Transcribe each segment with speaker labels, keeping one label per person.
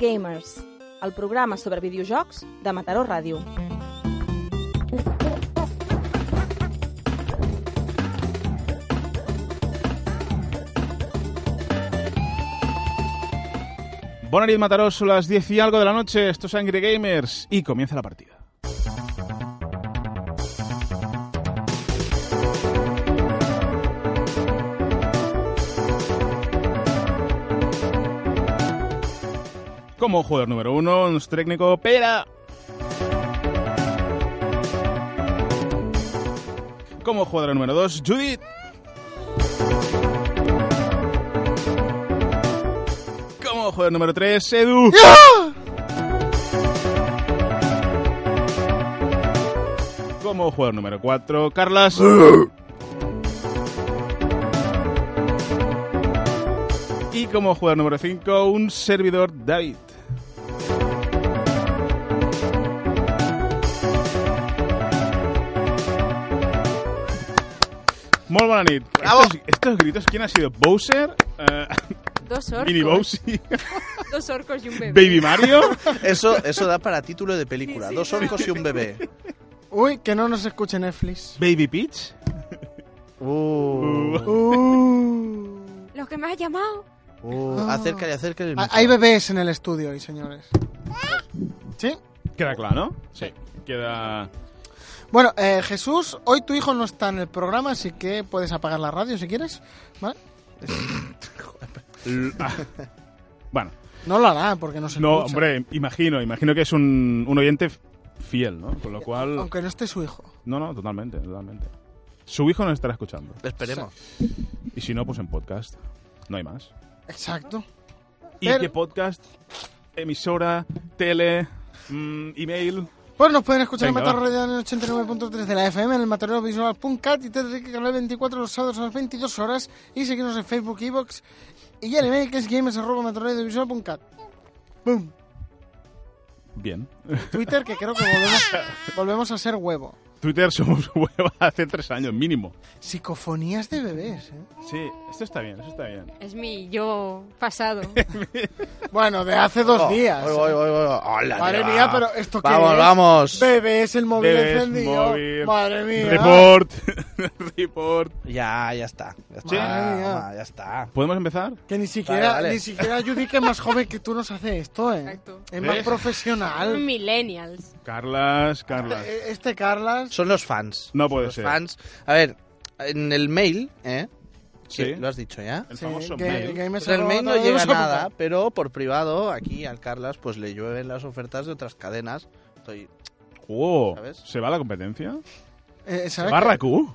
Speaker 1: Gamers, el programa sobre videojocs de Mataró Ràdio.
Speaker 2: Bona nit, Mataró, son las 10 y algo de la noche. Esto es Angry Gamers y comienza la partida. Como jugador número uno, nuestro técnico Pera. Como jugador número dos, Judith. Como jugador número tres, Edu. Como jugador número cuatro, Carlas. Y como jugador número 5, un servidor David. Molt bona nit. Estos, estos gritos, ¿quién ha sido? ¿Bowser? Eh,
Speaker 3: Dos orcos.
Speaker 2: ¿Mini Bowsy?
Speaker 3: Dos orcos y un bebé.
Speaker 2: ¿Baby Mario?
Speaker 4: Eso, eso da para título de película.
Speaker 3: Sí, sí,
Speaker 4: Dos
Speaker 3: sí.
Speaker 4: orcos y un bebé.
Speaker 5: Uy, que no nos escuche Netflix.
Speaker 2: ¿Baby Peach?
Speaker 4: Uh,
Speaker 5: Uh.
Speaker 3: Los que me has llamado.
Speaker 4: uh, acércale, acércale. el
Speaker 5: Ah,
Speaker 4: micro.
Speaker 5: Hay bebés en el estudio hoy, señores. ¿Sí?
Speaker 2: Queda clar, no? Sí. Queda...
Speaker 5: Bueno, eh, Jesús, hoy tu hijo no está en el programa, así que puedes apagar la radio si quieres. ¿Vale?
Speaker 2: l- ah. Bueno,
Speaker 5: No lo hará porque no se
Speaker 2: no,
Speaker 5: escucha.
Speaker 2: hombre, imagino, imagino que es un, un oyente f- fiel, ¿no? Con lo cual...
Speaker 5: Aunque no esté su hijo.
Speaker 2: No, no, totalmente, totalmente. Su hijo nos estará escuchando.
Speaker 4: Esperemos.
Speaker 2: Y si no, pues en podcast. No hay más.
Speaker 5: Exacto.
Speaker 2: ¿Y
Speaker 5: Pero-
Speaker 2: qué podcast? Emisora, tele, mm, email.
Speaker 5: Pues nos pueden escuchar
Speaker 2: Venga,
Speaker 5: en Matarro Radio en el 89.3 de la FM, en el matarrovisual.cat y tendré que hablar 24 los sábados a las 22 horas y seguirnos en Facebook, Evox y el email que es games.matarrovisual.cat. Boom.
Speaker 2: Bien.
Speaker 5: Twitter, que creo que volvemos, volvemos a ser huevo.
Speaker 2: Twitter somos hueva hace tres años, mínimo.
Speaker 5: Psicofonías de bebés, ¿eh?
Speaker 2: Sí, esto está bien, esto está bien.
Speaker 3: Es mi yo pasado.
Speaker 5: Bueno, de hace dos
Speaker 4: Oh,
Speaker 5: días.
Speaker 4: voy, voy, voy, voy. Hola,
Speaker 5: Madre
Speaker 4: tío.
Speaker 5: mía, pero ¿esto qué
Speaker 4: Vamos,
Speaker 5: es?
Speaker 4: vamos.
Speaker 5: Bebés, el móvil
Speaker 2: Bebés,
Speaker 5: encendido.
Speaker 2: móvil,
Speaker 5: Madre mía.
Speaker 2: Report. Report.
Speaker 4: Ya, ya está. Ya está.
Speaker 2: Sí.
Speaker 5: Madre mía.
Speaker 4: Ah, ya está.
Speaker 2: ¿Podemos empezar?
Speaker 5: Que ni siquiera,
Speaker 4: Vale, vale.
Speaker 5: ni siquiera Judy, que es más joven que tú, nos hace esto, ¿eh?
Speaker 3: Exacto.
Speaker 5: Es más
Speaker 2: ¿Ves?
Speaker 5: profesional.
Speaker 3: Millennials.
Speaker 2: Carlas, Carlas.
Speaker 5: Eh, Este Carlas.
Speaker 4: Son los fans.
Speaker 2: No puede
Speaker 4: los
Speaker 2: ser.
Speaker 4: fans. A ver, en el mail, ¿eh?
Speaker 2: Sí.
Speaker 4: lo has dicho ya.
Speaker 2: El
Speaker 5: sí,
Speaker 2: famoso
Speaker 5: que-
Speaker 2: mail.
Speaker 5: que ahí me
Speaker 4: Pues el
Speaker 5: salgo
Speaker 4: mail no
Speaker 5: todo,
Speaker 4: llega
Speaker 5: salgo-
Speaker 4: nada, pero por privado aquí al Carlas pues le llueven las ofertas de otras cadenas. Estoy...
Speaker 2: Oh,
Speaker 4: ¿Sabes?
Speaker 2: ¿Se va la competencia?
Speaker 5: Eh, ¿sabes
Speaker 2: ¿Barra Q?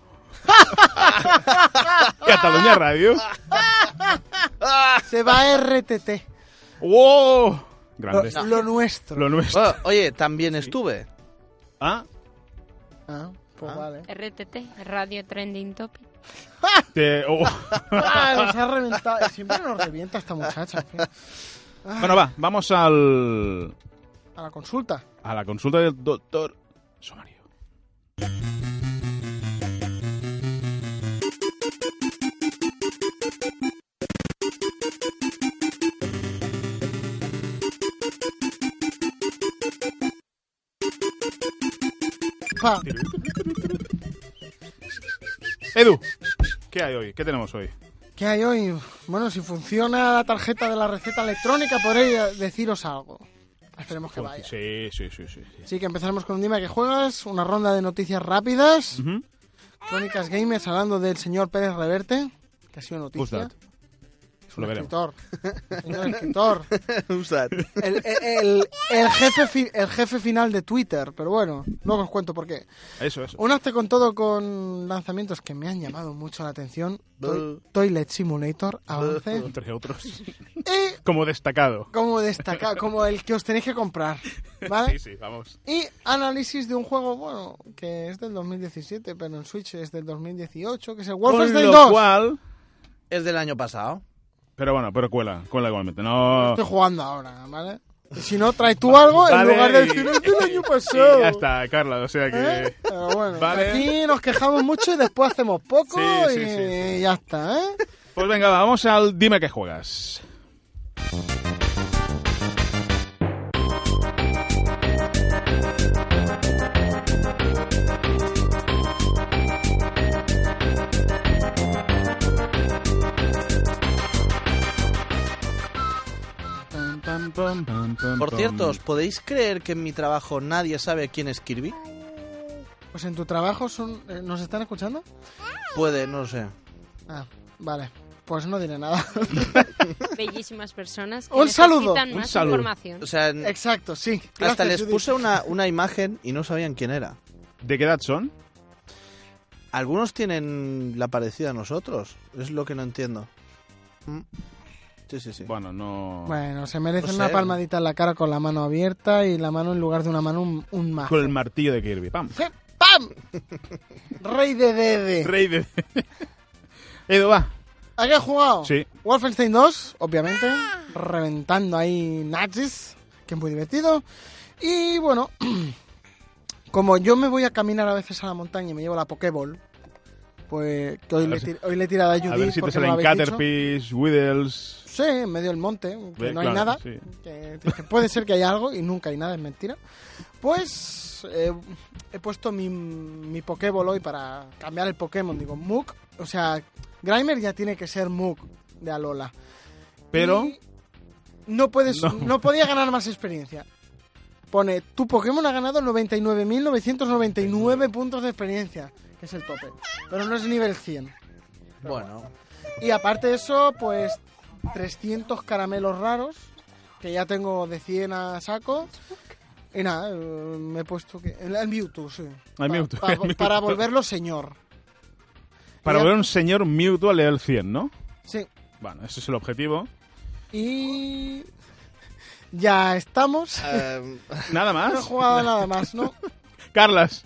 Speaker 2: Cataluña Radio.
Speaker 5: qué? Se va RTT.
Speaker 2: ¡Wow!
Speaker 5: Lo,
Speaker 2: Grande.
Speaker 5: lo nuestro.
Speaker 2: Lo nuestro.
Speaker 4: Bueno, Oh, oye, también estuve.
Speaker 2: Ah,
Speaker 5: Ah, pues
Speaker 4: Ah.
Speaker 5: vale.
Speaker 3: RTT, Radio Trending Topic.
Speaker 2: te- oh.
Speaker 5: Ah, nos ha reventado. Siempre nos revienta esta muchacha. ¿eh? en fin.
Speaker 2: Bueno, va, vamos al.
Speaker 5: A la consulta.
Speaker 2: a la consulta del doctor Somario.
Speaker 5: Pa.
Speaker 2: Edu, ¿qué hay hoy? ¿Qué tenemos hoy?
Speaker 5: ¿Qué hay hoy? Bueno, si funciona la tarjeta de la receta electrónica, podré deciros algo. Esperemos que vaya.
Speaker 2: Sí, sí, sí, sí. sí.
Speaker 5: Así que empezaremos con un dime que juegas, una ronda de noticias rápidas,
Speaker 2: Ujú.
Speaker 5: crónicas gamers hablando del señor Pérez Reverte, que ha sido
Speaker 2: Who's
Speaker 5: noticia.
Speaker 2: that?
Speaker 5: Es
Speaker 2: Lo
Speaker 5: un
Speaker 2: veremos.
Speaker 5: escritor. Señor escritor.
Speaker 4: Usad.
Speaker 5: El, el- el- el jefe fi- el jefe final de Twitter, pero bueno, luego os cuento por qué.
Speaker 2: Eso, eso.
Speaker 5: Un hazte con todo con lanzamientos que me han llamado mucho la atención. To-
Speaker 4: Buh.
Speaker 5: Toilet Simulator, avance.
Speaker 2: Entre otros.
Speaker 5: Y
Speaker 2: Como destacado.
Speaker 5: como destacar, como el que os tenéis que comprar, ¿vale?
Speaker 2: Sí, sí, vamos.
Speaker 5: Y análisis de un juego, bueno, que es del 2017, pero en Switch es del 2018, que es el Wolfenstein
Speaker 2: lo
Speaker 5: 2.
Speaker 2: cual.
Speaker 4: Es del año pasado.
Speaker 2: Pero bueno, pero cuela, cuela igualmente. No.
Speaker 5: Estoy jugando ahora, ¿vale? Y si no, trae tú algo en
Speaker 2: Vale,
Speaker 5: lugar de
Speaker 2: y-
Speaker 5: decir "Es del año pasado.
Speaker 2: y ya está, Carla, o sea que.
Speaker 5: ¿Eh? Pero bueno,
Speaker 2: Vale.
Speaker 5: aquí nos quejamos mucho y después hacemos poco
Speaker 2: Sí, sí,
Speaker 5: y
Speaker 2: sí, sí.
Speaker 5: ya está, ¿eh?
Speaker 2: Pues venga, va, vamos al Dime que juegas. Pam, pam, pam, pam, pam,
Speaker 4: Por
Speaker 2: pam.
Speaker 4: cierto, ¿os podéis creer que en mi trabajo nadie sabe quién es Kirby?
Speaker 5: Pues en tu trabajo son, eh, ¿nos están escuchando?
Speaker 4: Puede, no lo sé.
Speaker 5: Ah, vale. Pues no diré nada.
Speaker 3: Bellísimas personas. Que
Speaker 5: Un saludo,
Speaker 3: necesitan
Speaker 2: un
Speaker 3: más
Speaker 2: saludo.
Speaker 3: información.
Speaker 4: O sea, n-
Speaker 5: Exacto, sí.
Speaker 4: hasta
Speaker 5: Gracias,
Speaker 4: les
Speaker 5: Judith.
Speaker 4: puse una, una imagen y no sabían quién era.
Speaker 2: ¿De qué edad son?
Speaker 4: Algunos tienen la parecida a nosotros. Es lo que no entiendo. ¿Mm? Sí, sí, sí.
Speaker 2: Bueno, no...
Speaker 5: Bueno, se merecen
Speaker 4: No sé.
Speaker 5: una palmadita en la cara con la mano abierta y la mano en lugar de una mano un, un mazo.
Speaker 2: Con el martillo de Kirby, pam.
Speaker 5: ¡Sí! ¡Pam! Rey de Dede.
Speaker 2: Rey de... Edu, va.
Speaker 5: ¿A qué has jugado?
Speaker 2: Sí.
Speaker 5: Wolfenstein 2, obviamente. Reventando ahí nazis, que es muy divertido. Y bueno, como yo me voy a caminar a veces a la montaña y me llevo la Pokéball, pues que hoy,
Speaker 2: A
Speaker 5: le,
Speaker 2: ver si-
Speaker 5: tir- hoy le he tirado a Judith
Speaker 2: A ver si te
Speaker 5: porque me lo
Speaker 2: salen
Speaker 5: habéis dicho.
Speaker 2: Caterpies, Whittles...
Speaker 5: Sí, en medio del monte, que
Speaker 2: Ve,
Speaker 5: no hay
Speaker 2: claro,
Speaker 5: nada.
Speaker 2: sí.
Speaker 5: que- que puede ser que haya algo y nunca hay nada, es mentira. Pues eh, he puesto mi, mi Pokéball hoy para cambiar el Pokémon. Digo, Mook, o sea, Grimer ya tiene que ser Mook de Alola.
Speaker 2: Pero...
Speaker 5: Y No, puedes,
Speaker 2: No.
Speaker 5: no. podía ganar más experiencia. Pone, tu Pokémon ha ganado 99.999 puntos de experiencia, que es el tope. Pero no es nivel 100.
Speaker 4: Bueno,
Speaker 5: Y aparte de eso, pues 300 caramelos raros, que ya tengo de 100 a saco. Y nada, eh, me he puesto que... El, el Mewtwo, sí. Pa-
Speaker 2: Ah, Mewtwo,
Speaker 5: pa-
Speaker 2: el Mewtwo.
Speaker 5: Para volverlo señor.
Speaker 2: Para
Speaker 5: y-
Speaker 2: volver un señor Mewtwo al level 100, ¿no?
Speaker 5: Sí.
Speaker 2: Bueno, ese es el objetivo.
Speaker 5: Y... Ya estamos.
Speaker 4: eh,
Speaker 2: Nada
Speaker 5: No he
Speaker 2: más.
Speaker 5: jugado nada más, ¿no?
Speaker 2: Carlas.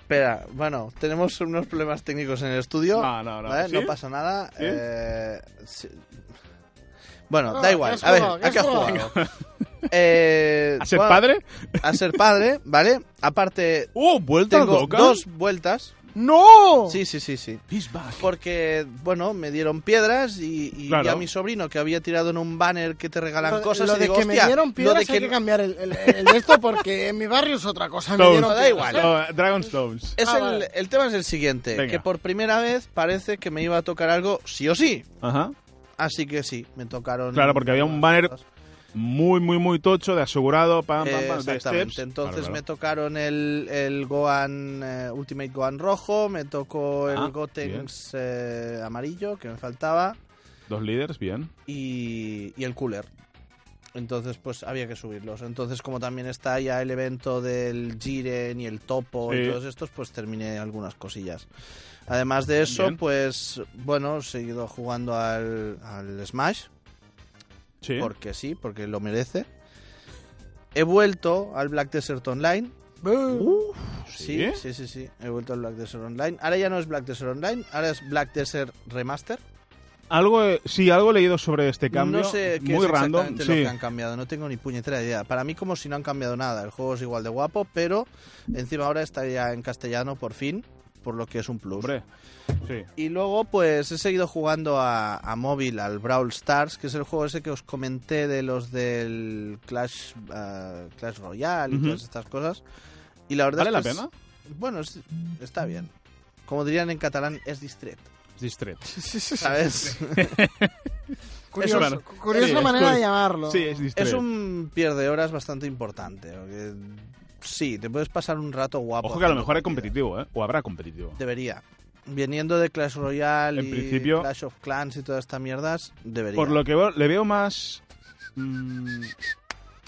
Speaker 4: espera, bueno, tenemos unos problemas técnicos en el estudio.
Speaker 2: No, no, no.
Speaker 4: ¿vale?
Speaker 2: ¿Sí?
Speaker 4: No pasa nada.
Speaker 2: ¿Sí?
Speaker 4: eh, sí. Bueno,
Speaker 5: No,
Speaker 4: da
Speaker 5: ¿qué
Speaker 4: igual.
Speaker 5: Ah, has
Speaker 4: A ver,
Speaker 5: jugado? ¿Qué
Speaker 4: ¿a qué has
Speaker 5: has
Speaker 4: jugado? Eh,
Speaker 2: ¿A ser
Speaker 4: bueno,
Speaker 2: padre?
Speaker 4: A ser padre, ¿vale? Aparte,
Speaker 2: ¡Oh, vuelta a
Speaker 4: tengo
Speaker 2: Dokkan.
Speaker 4: dos vueltas.
Speaker 5: ¡No!
Speaker 4: Sí, sí, sí, sí.
Speaker 2: He's back.
Speaker 4: Porque, bueno, me dieron piedras y, y
Speaker 2: Claro.
Speaker 4: vi a mi sobrino que había tirado en un banner que te regalan
Speaker 5: Lo-
Speaker 4: cosas.
Speaker 5: lo
Speaker 4: y
Speaker 5: de
Speaker 4: digo,
Speaker 5: que me
Speaker 4: "Hostia,
Speaker 5: dieron
Speaker 4: lo
Speaker 5: piedras
Speaker 4: de que
Speaker 5: hay que cambiar el, el- el de esto porque en mi barrio es otra cosa. Me
Speaker 2: Stones.
Speaker 5: dieron
Speaker 4: No, da
Speaker 5: piedras,
Speaker 4: igual.
Speaker 5: ¿eh?
Speaker 2: No, Dragon Stones.
Speaker 4: Es
Speaker 5: Ah,
Speaker 4: el,
Speaker 5: vale.
Speaker 4: el tema es el siguiente,
Speaker 2: Venga.
Speaker 4: que por primera vez parece que me iba a tocar algo sí o sí.
Speaker 2: Ajá.
Speaker 4: Así que sí, me tocaron.
Speaker 2: Claro, porque había un banner muy, muy, muy tocho, de asegurado, pam, pam,
Speaker 4: Eh,
Speaker 2: pam, de steps.
Speaker 4: exactamente. Entonces
Speaker 2: Claro,
Speaker 4: me
Speaker 2: claro.
Speaker 4: tocaron el, el Gohan eh, Ultimate Gohan rojo, me tocó el
Speaker 2: Ah,
Speaker 4: Gotenks eh, amarillo que me faltaba
Speaker 2: Dos líderes, bien.
Speaker 4: y, y el Cooler. Entonces pues había que subirlos. Entonces como también está ya el evento del Jiren y el Topo
Speaker 2: Sí.
Speaker 4: y todos estos, pues terminé algunas cosillas. Además de eso,
Speaker 2: Bien.
Speaker 4: pues bueno, he seguido jugando al, al Smash
Speaker 2: Sí.
Speaker 4: porque sí, porque lo merece. He vuelto al Black Desert Online. Sí,
Speaker 2: ¿Sí?
Speaker 4: sí, sí, sí. He vuelto al Black Desert Online. Ahora ya no es Black Desert Online, ahora es Black Desert Remaster.
Speaker 2: Algo, eh, sí, algo he leído sobre este cambio.
Speaker 4: no sé qué
Speaker 2: muy
Speaker 4: es
Speaker 2: random.
Speaker 4: exactamente lo
Speaker 2: Sí.
Speaker 4: que han cambiado, no tengo ni puñetera idea. Para mí como si no han cambiado nada, el juego es igual de guapo, pero encima ahora está ya en castellano por fin, por lo que es un plus.
Speaker 2: Hombre. Sí.
Speaker 4: Y luego pues he seguido jugando a, a móvil, al Brawl Stars, que es el juego ese que os comenté de los del Clash, ah, Clash Royale y
Speaker 2: Ujú.
Speaker 4: todas estas cosas. Y la verdad
Speaker 2: ¿Vale
Speaker 4: es
Speaker 2: la
Speaker 4: que es-
Speaker 2: pena?
Speaker 4: Bueno, es- está bien. Como dirían en catalán, es distret,
Speaker 2: Distret.
Speaker 4: ¿sabes?
Speaker 2: Eso,
Speaker 5: Curioso,
Speaker 2: claro.
Speaker 5: curiosa
Speaker 2: Sí, es
Speaker 5: manera de
Speaker 2: cur-
Speaker 5: llamarlo.
Speaker 2: Sí, es distret.
Speaker 4: es un pierde horas bastante importante. porque Sí, te puedes pasar un rato guapo.
Speaker 2: Ojo que a lo
Speaker 4: haciendo
Speaker 2: mejor es
Speaker 4: partidas.
Speaker 2: competitivo, ¿eh? O habrá competitivo.
Speaker 4: Debería. Viniendo de Clash Royale
Speaker 2: En
Speaker 4: y
Speaker 2: principio-
Speaker 4: Clash of Clans y todas estas mierdas, debería.
Speaker 2: Por lo que veo- le veo más. mm,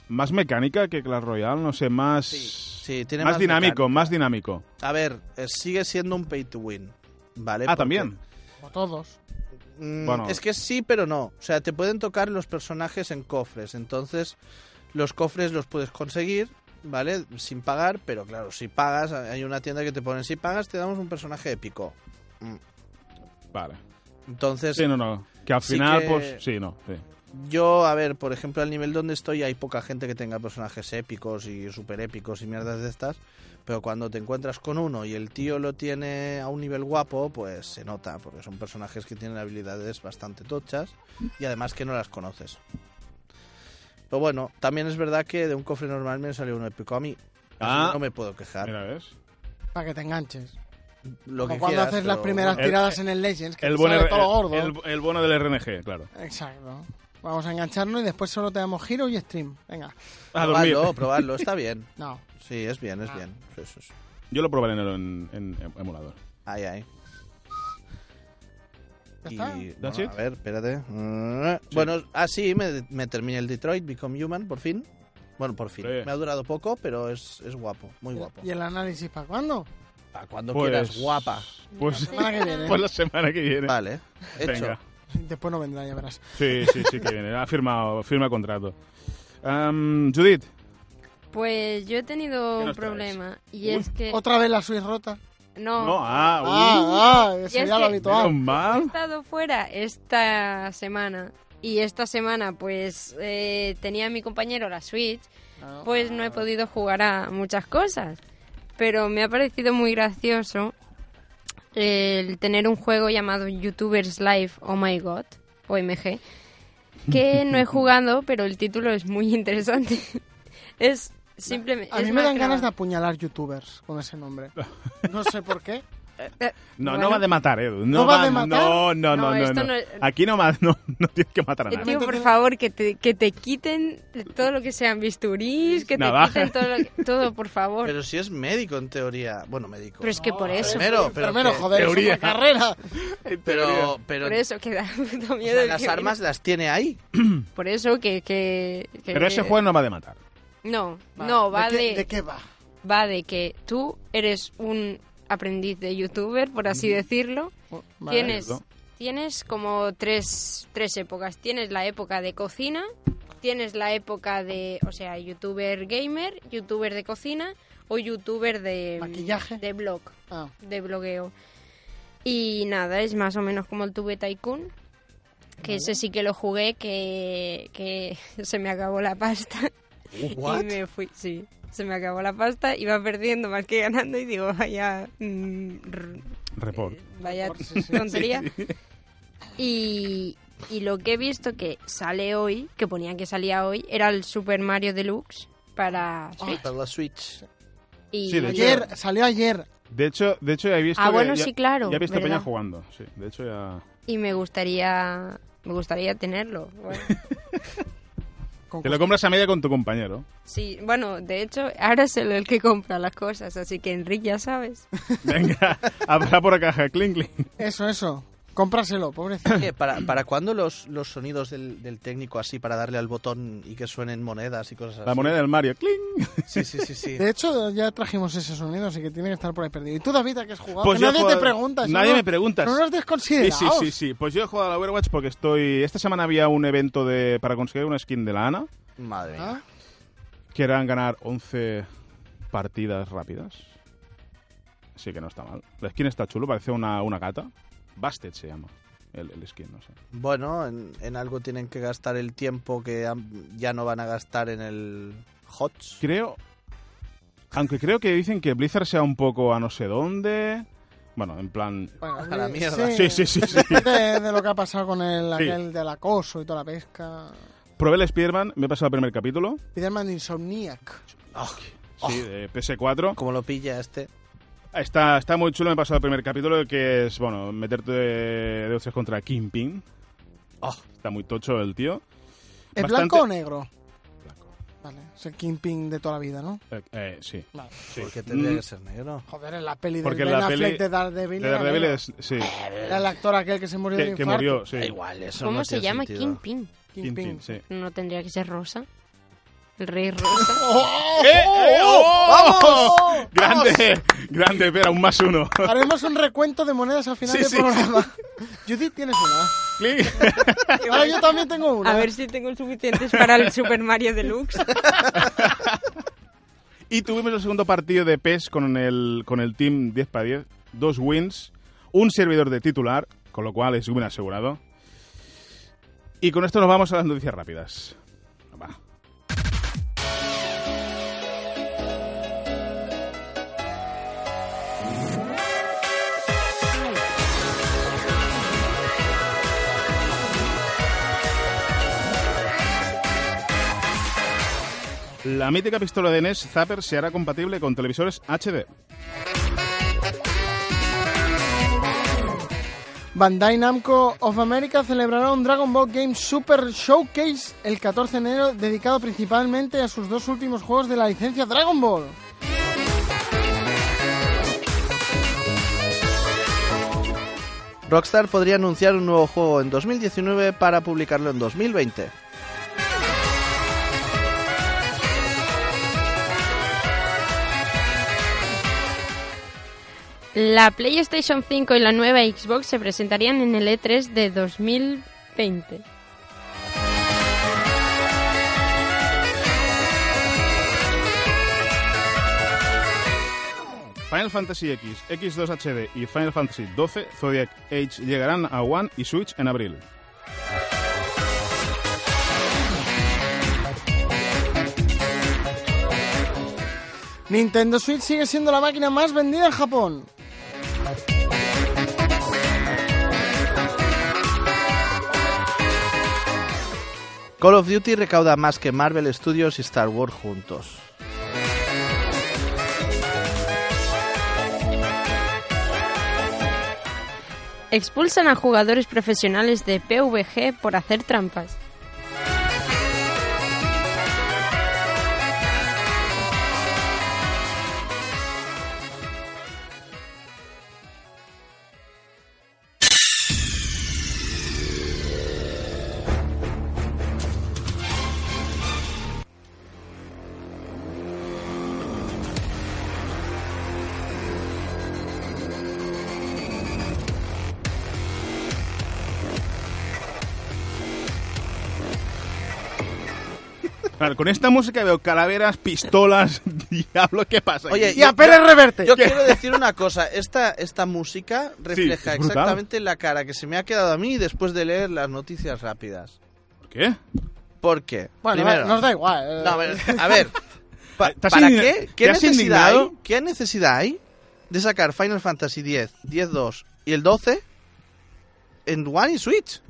Speaker 2: más mecánica que Clash Royale, no sé, más.
Speaker 4: Sí, sí, tiene
Speaker 2: más,
Speaker 4: más
Speaker 2: dinámico,
Speaker 4: mecánica.
Speaker 2: más dinámico.
Speaker 4: A ver, eh, sigue siendo un pay to win. ¿Vale?
Speaker 2: Ah,
Speaker 4: Porque,
Speaker 2: también.
Speaker 5: Como todos.
Speaker 4: mm,
Speaker 2: Bueno.
Speaker 4: Es que sí, pero no. O sea, te pueden tocar los personajes en cofres. Entonces, los cofres los puedes conseguir, ¿vale? Sin pagar, pero claro, si pagas, hay una tienda que te ponen, si pagas, te damos un personaje épico.
Speaker 2: Vale.
Speaker 4: Entonces,
Speaker 2: Sí, no, no. Que al
Speaker 4: Pues sí
Speaker 2: final,
Speaker 4: que-
Speaker 2: pues. Sí, no. Sí.
Speaker 4: Yo, a ver, por ejemplo, al nivel donde estoy hay poca gente que tenga personajes épicos y super épicos y mierdas de estas, pero cuando te encuentras con uno y el tío lo tiene a un nivel guapo, pues se nota, porque son personajes que tienen habilidades bastante tochas y además que no las conoces. Pero bueno, también es verdad que de un cofre normal me salió uno épico a mí,
Speaker 2: Ah.
Speaker 4: No me puedo quejar.
Speaker 2: Mira, ¿ves?
Speaker 5: Para que te enganches.
Speaker 4: Lo que
Speaker 5: Como cuando
Speaker 4: quieras,
Speaker 5: haces las
Speaker 4: pero-
Speaker 5: primeras
Speaker 2: El-
Speaker 5: tiradas en el Legends, que
Speaker 2: El
Speaker 5: te
Speaker 2: bono,
Speaker 5: sale
Speaker 2: el,
Speaker 5: todo gordo.
Speaker 2: el- el bono del RNG, claro.
Speaker 5: Exacto. Vamos a engancharnos y después solo te damos giro y stream. Venga.
Speaker 2: A dormir.
Speaker 4: Probadlo, probadlo, está bien.
Speaker 5: No.
Speaker 4: Sí, es bien, es bien. Sí, sí, sí.
Speaker 2: Yo lo probaré en, el, en, en emulador.
Speaker 4: Ay, ay.
Speaker 5: ¿Ya está?
Speaker 4: Y,
Speaker 2: That's
Speaker 4: bueno,
Speaker 2: it.
Speaker 4: a ver, espérate. Mm, Bueno, así me, me terminé el Detroit Become Human, por fin. Bueno, por fin.
Speaker 2: Sí.
Speaker 4: Me ha durado poco, pero es, es guapo, muy guapo.
Speaker 5: ¿Y el análisis para cuándo?
Speaker 4: Para cuando
Speaker 2: Pues-
Speaker 4: quieras, guapa.
Speaker 2: Pues,
Speaker 5: La semana que viene.
Speaker 2: pues la semana que viene.
Speaker 4: Vale, hecho.
Speaker 2: Venga.
Speaker 5: Después no vendrá, ya verás.
Speaker 2: Sí, sí, sí que viene. Ha firmado, firma contrato. Am, Judith,
Speaker 3: Pues yo he tenido
Speaker 2: ¿Qué
Speaker 3: un
Speaker 2: nos traes?
Speaker 3: problema y es que
Speaker 5: ¿Otra vez la Swiss rota?
Speaker 3: no,
Speaker 2: no, ah, uh,
Speaker 5: Ah, ah,
Speaker 3: Y es
Speaker 5: sería lo
Speaker 3: que-
Speaker 5: habitual.
Speaker 2: menos
Speaker 3: he
Speaker 2: mal.
Speaker 3: estado fuera esta semana y esta semana pues eh, tenía mi compañero la Switch,
Speaker 5: Ah.
Speaker 3: pues no he podido jugar a muchas cosas, pero me ha parecido muy gracioso el tener un juego llamado YouTubers Live Oh My God, OMG, que no he jugado, pero el título es muy interesante. es simplemente...
Speaker 5: A
Speaker 3: es
Speaker 5: mí me dan
Speaker 3: más
Speaker 5: ganas de
Speaker 3: grabado.
Speaker 5: apuñalar youtubers con ese nombre. No sé por qué.
Speaker 3: Eh,
Speaker 2: No, no
Speaker 3: bueno.
Speaker 2: va de matar, Edu. No,
Speaker 5: ¿No va de matar?
Speaker 2: No, no, no,
Speaker 3: No,
Speaker 2: no.
Speaker 3: esto
Speaker 2: no.
Speaker 3: no es-
Speaker 2: Aquí no, ma- no, no tienes que matar a
Speaker 3: Eh,
Speaker 2: nadie.
Speaker 3: tío, por favor, que te, que te quiten todo lo que sean bisturís, que
Speaker 2: Navaja.
Speaker 3: te quiten todo, lo que- todo, por favor. Pero,
Speaker 4: Pero si es médico en teoría. Bueno, médico.
Speaker 3: es que por eso,
Speaker 4: Primero, pero,
Speaker 5: Primero,
Speaker 4: que-
Speaker 5: joder, es
Speaker 2: teoría.
Speaker 5: una carrera.
Speaker 4: Pero, pero,
Speaker 3: por eso que da puto
Speaker 4: o sea,
Speaker 3: miedo. el
Speaker 4: las
Speaker 3: que-
Speaker 4: armas las tiene ahí.
Speaker 3: Por eso que... que- que-
Speaker 2: Pero ese juego no va de matar.
Speaker 3: No, no, va
Speaker 5: qué-
Speaker 3: de,
Speaker 5: ¿De qué va?
Speaker 3: va de que tú eres un aprendiz de youtuber, por así decirlo.
Speaker 5: Oh, Vale.
Speaker 3: Tienes,
Speaker 2: Cierto.
Speaker 3: tienes como tres, tres épocas. Tienes la época de cocina, tienes la época de, o sea, youtuber gamer, youtuber de cocina o youtuber de...
Speaker 5: ¿Maquillaje?
Speaker 3: De blog,
Speaker 5: Ah,
Speaker 3: de blogueo. Y nada, es más o menos como el Tube Tycoon, que ese sí que lo jugué, que, que se me acabó la pasta.
Speaker 4: What?
Speaker 3: Y me fui, sí. Se me acabó la pasta, iba perdiendo más que ganando y digo, vaya, mm, r-
Speaker 2: Report.
Speaker 3: vaya
Speaker 5: Por si se-
Speaker 3: tontería. Y, y lo que he visto que sale hoy, que ponían que salía hoy, era el Super Mario Deluxe para Switch.
Speaker 4: Para Ah, la Switch.
Speaker 3: Y
Speaker 2: Ah, Sí, de hecho-
Speaker 3: yo-
Speaker 5: Ayer, salió ayer.
Speaker 2: De hecho, de hecho ya he visto.
Speaker 3: Ah,
Speaker 2: que-
Speaker 3: bueno,
Speaker 2: ya-
Speaker 3: sí, claro,
Speaker 2: Ya he visto
Speaker 3: ¿verdad?
Speaker 2: Peña jugando. Sí, de hecho ya.
Speaker 3: y me gustaría me gustaría tenerlo. Bueno,
Speaker 5: Con
Speaker 2: Te lo compras a media con tu compañero.
Speaker 3: sí, bueno, de hecho, ahora es el, el que compra las cosas, así que Enrique ya sabes.
Speaker 2: Venga, habrá por caja, cling, cling.
Speaker 5: Eso, eso. Cómpraselo, pobrecito.
Speaker 4: ¿Qué? ¿Para, ¿Para cuándo los, los sonidos del, del técnico así para darle al botón y que suenen monedas y cosas así?
Speaker 2: La moneda del Mario, cling.
Speaker 4: Sí, sí, sí, sí.
Speaker 5: De hecho, ya trajimos ese sonido, así que tiene que estar por ahí perdido. ¿Y tú, David, a qué has jugado?
Speaker 2: Pues
Speaker 5: Que
Speaker 2: yo he
Speaker 5: nadie
Speaker 2: jugado-
Speaker 5: te pregunta. si
Speaker 2: nadie
Speaker 5: no-
Speaker 2: me preguntas.
Speaker 5: No nos
Speaker 2: Sí,
Speaker 5: desconsiderados.
Speaker 2: sí, sí, sí. Pues yo he jugado al Overwatch porque estoy. Esta semana había un evento de para conseguir una skin de la Ana,
Speaker 4: Madre mía.
Speaker 5: Ah,
Speaker 2: que eran ganar 11 partidas rápidas. Así que no está mal. La skin está chulo, parece una, una gata. Bastet se llama el, el skin, no sé.
Speaker 4: Bueno, en, en algo tienen que gastar el tiempo que han- ya no van a gastar en el HOTS.
Speaker 2: Creo. Aunque creo que dicen que Blizzard sea un poco a no sé dónde. Bueno, en plan.
Speaker 5: bueno, eh,
Speaker 4: A la mierda.
Speaker 2: Sí, sí, sí. sí.
Speaker 5: De, de lo que ha pasado con el,
Speaker 2: Sí.
Speaker 5: aquel del acoso y toda la pesca.
Speaker 2: Probé el Spider-Man, me he pasado el primer capítulo.
Speaker 5: Spiderman Insomniac.
Speaker 2: Sí, de PS4.
Speaker 4: Ah, Como lo pilla este.
Speaker 2: Está, está muy chulo, me he pasado el primer capítulo, que es, bueno, meterte de hostias contra Kingpin.
Speaker 4: Oh,
Speaker 2: Está muy tocho el tío.
Speaker 5: ¿Es
Speaker 2: Bastante-
Speaker 5: blanco o negro?
Speaker 2: Blanco.
Speaker 5: Vale, es el Kingpin de toda la vida, ¿no?
Speaker 2: Eh, eh, sí.
Speaker 5: Vale.
Speaker 4: porque tendría
Speaker 2: Mm.
Speaker 4: que ser negro.
Speaker 5: Joder, en la peli
Speaker 2: Porque
Speaker 5: de
Speaker 2: la
Speaker 5: Ben Affleck
Speaker 2: peli
Speaker 5: de Daredevil.
Speaker 2: De
Speaker 5: era
Speaker 2: Daredevil
Speaker 5: negro.
Speaker 2: es... Sí,
Speaker 5: Era el actor aquel que se murió de
Speaker 2: que, que murió, sí.
Speaker 4: Eh, Da igual, eso
Speaker 3: ¿Cómo
Speaker 4: no
Speaker 3: se
Speaker 4: tiene
Speaker 3: llama?
Speaker 4: sentido.
Speaker 3: Kingpin.
Speaker 5: Kingpin.
Speaker 2: Kingpin, sí.
Speaker 3: ¿No tendría que ser Rosa? ¿El rey Rosa?
Speaker 2: ¡Eh, ¡Vamos! oh! ¡Grande! ¡Grande! Espera, un más uno.
Speaker 5: Haremos un recuento de monedas al final
Speaker 2: Sí,
Speaker 5: del
Speaker 2: sí,
Speaker 5: programa. Judith, tienes una.
Speaker 2: Clic.
Speaker 5: Y ahora Ah, yo también tengo una.
Speaker 3: A ver si tengo suficientes para el Super Mario Deluxe.
Speaker 2: Y tuvimos el segundo partido de PES con el, con el team 10 para 10. Dos wins, un servidor de titular, con lo cual es un asegurado. Y con esto nos vamos a las noticias rápidas. Va. La mítica pistola de NES Zapper se hará compatible con televisores HD.
Speaker 5: Bandai Namco of America celebrará un Dragon Ball Game Super Showcase el 14 de enero dedicado principalmente a sus dos últimos juegos de la licencia Dragon Ball.
Speaker 4: Rockstar podría anunciar un nuevo juego en 2019 para publicarlo en 2020.
Speaker 3: La PlayStation 5 y la nueva Xbox se presentarían en el E3 de 2020.
Speaker 2: Final Fantasy X, X2 HD y Final Fantasy XII Zodiac Age llegarán a One y Switch en abril.
Speaker 5: Nintendo Switch sigue siendo la máquina más vendida en Japón.
Speaker 4: Call of Duty recauda más que Marvel Studios y Star Wars juntos.
Speaker 3: Expulsan a jugadores profesionales de PvG por hacer trampas.
Speaker 2: Claro, con esta música veo calaveras, pistolas, diablo, ¿qué pasa? aquí?
Speaker 4: Oye,
Speaker 5: Y a
Speaker 4: Yo-
Speaker 5: Pérez Reverte.
Speaker 4: Yo quiero decir una cosa, esta, esta música refleja
Speaker 2: es brutal.
Speaker 4: exactamente la cara que se me ha quedado a mí después de leer las noticias rápidas.
Speaker 2: ¿Por qué?
Speaker 4: ¿Por qué?
Speaker 5: Bueno,
Speaker 4: Primero-
Speaker 5: nos da igual. eh.
Speaker 4: No, a ver, a ver, pa-
Speaker 2: ¿Estás
Speaker 4: ¿para
Speaker 2: indigna-
Speaker 4: qué? ¿Qué
Speaker 2: te has
Speaker 4: necesidad,
Speaker 2: indignado?
Speaker 4: hay, ¿Qué necesidad hay de sacar Final Fantasy X, 10-2 y el 12 en One y Switch?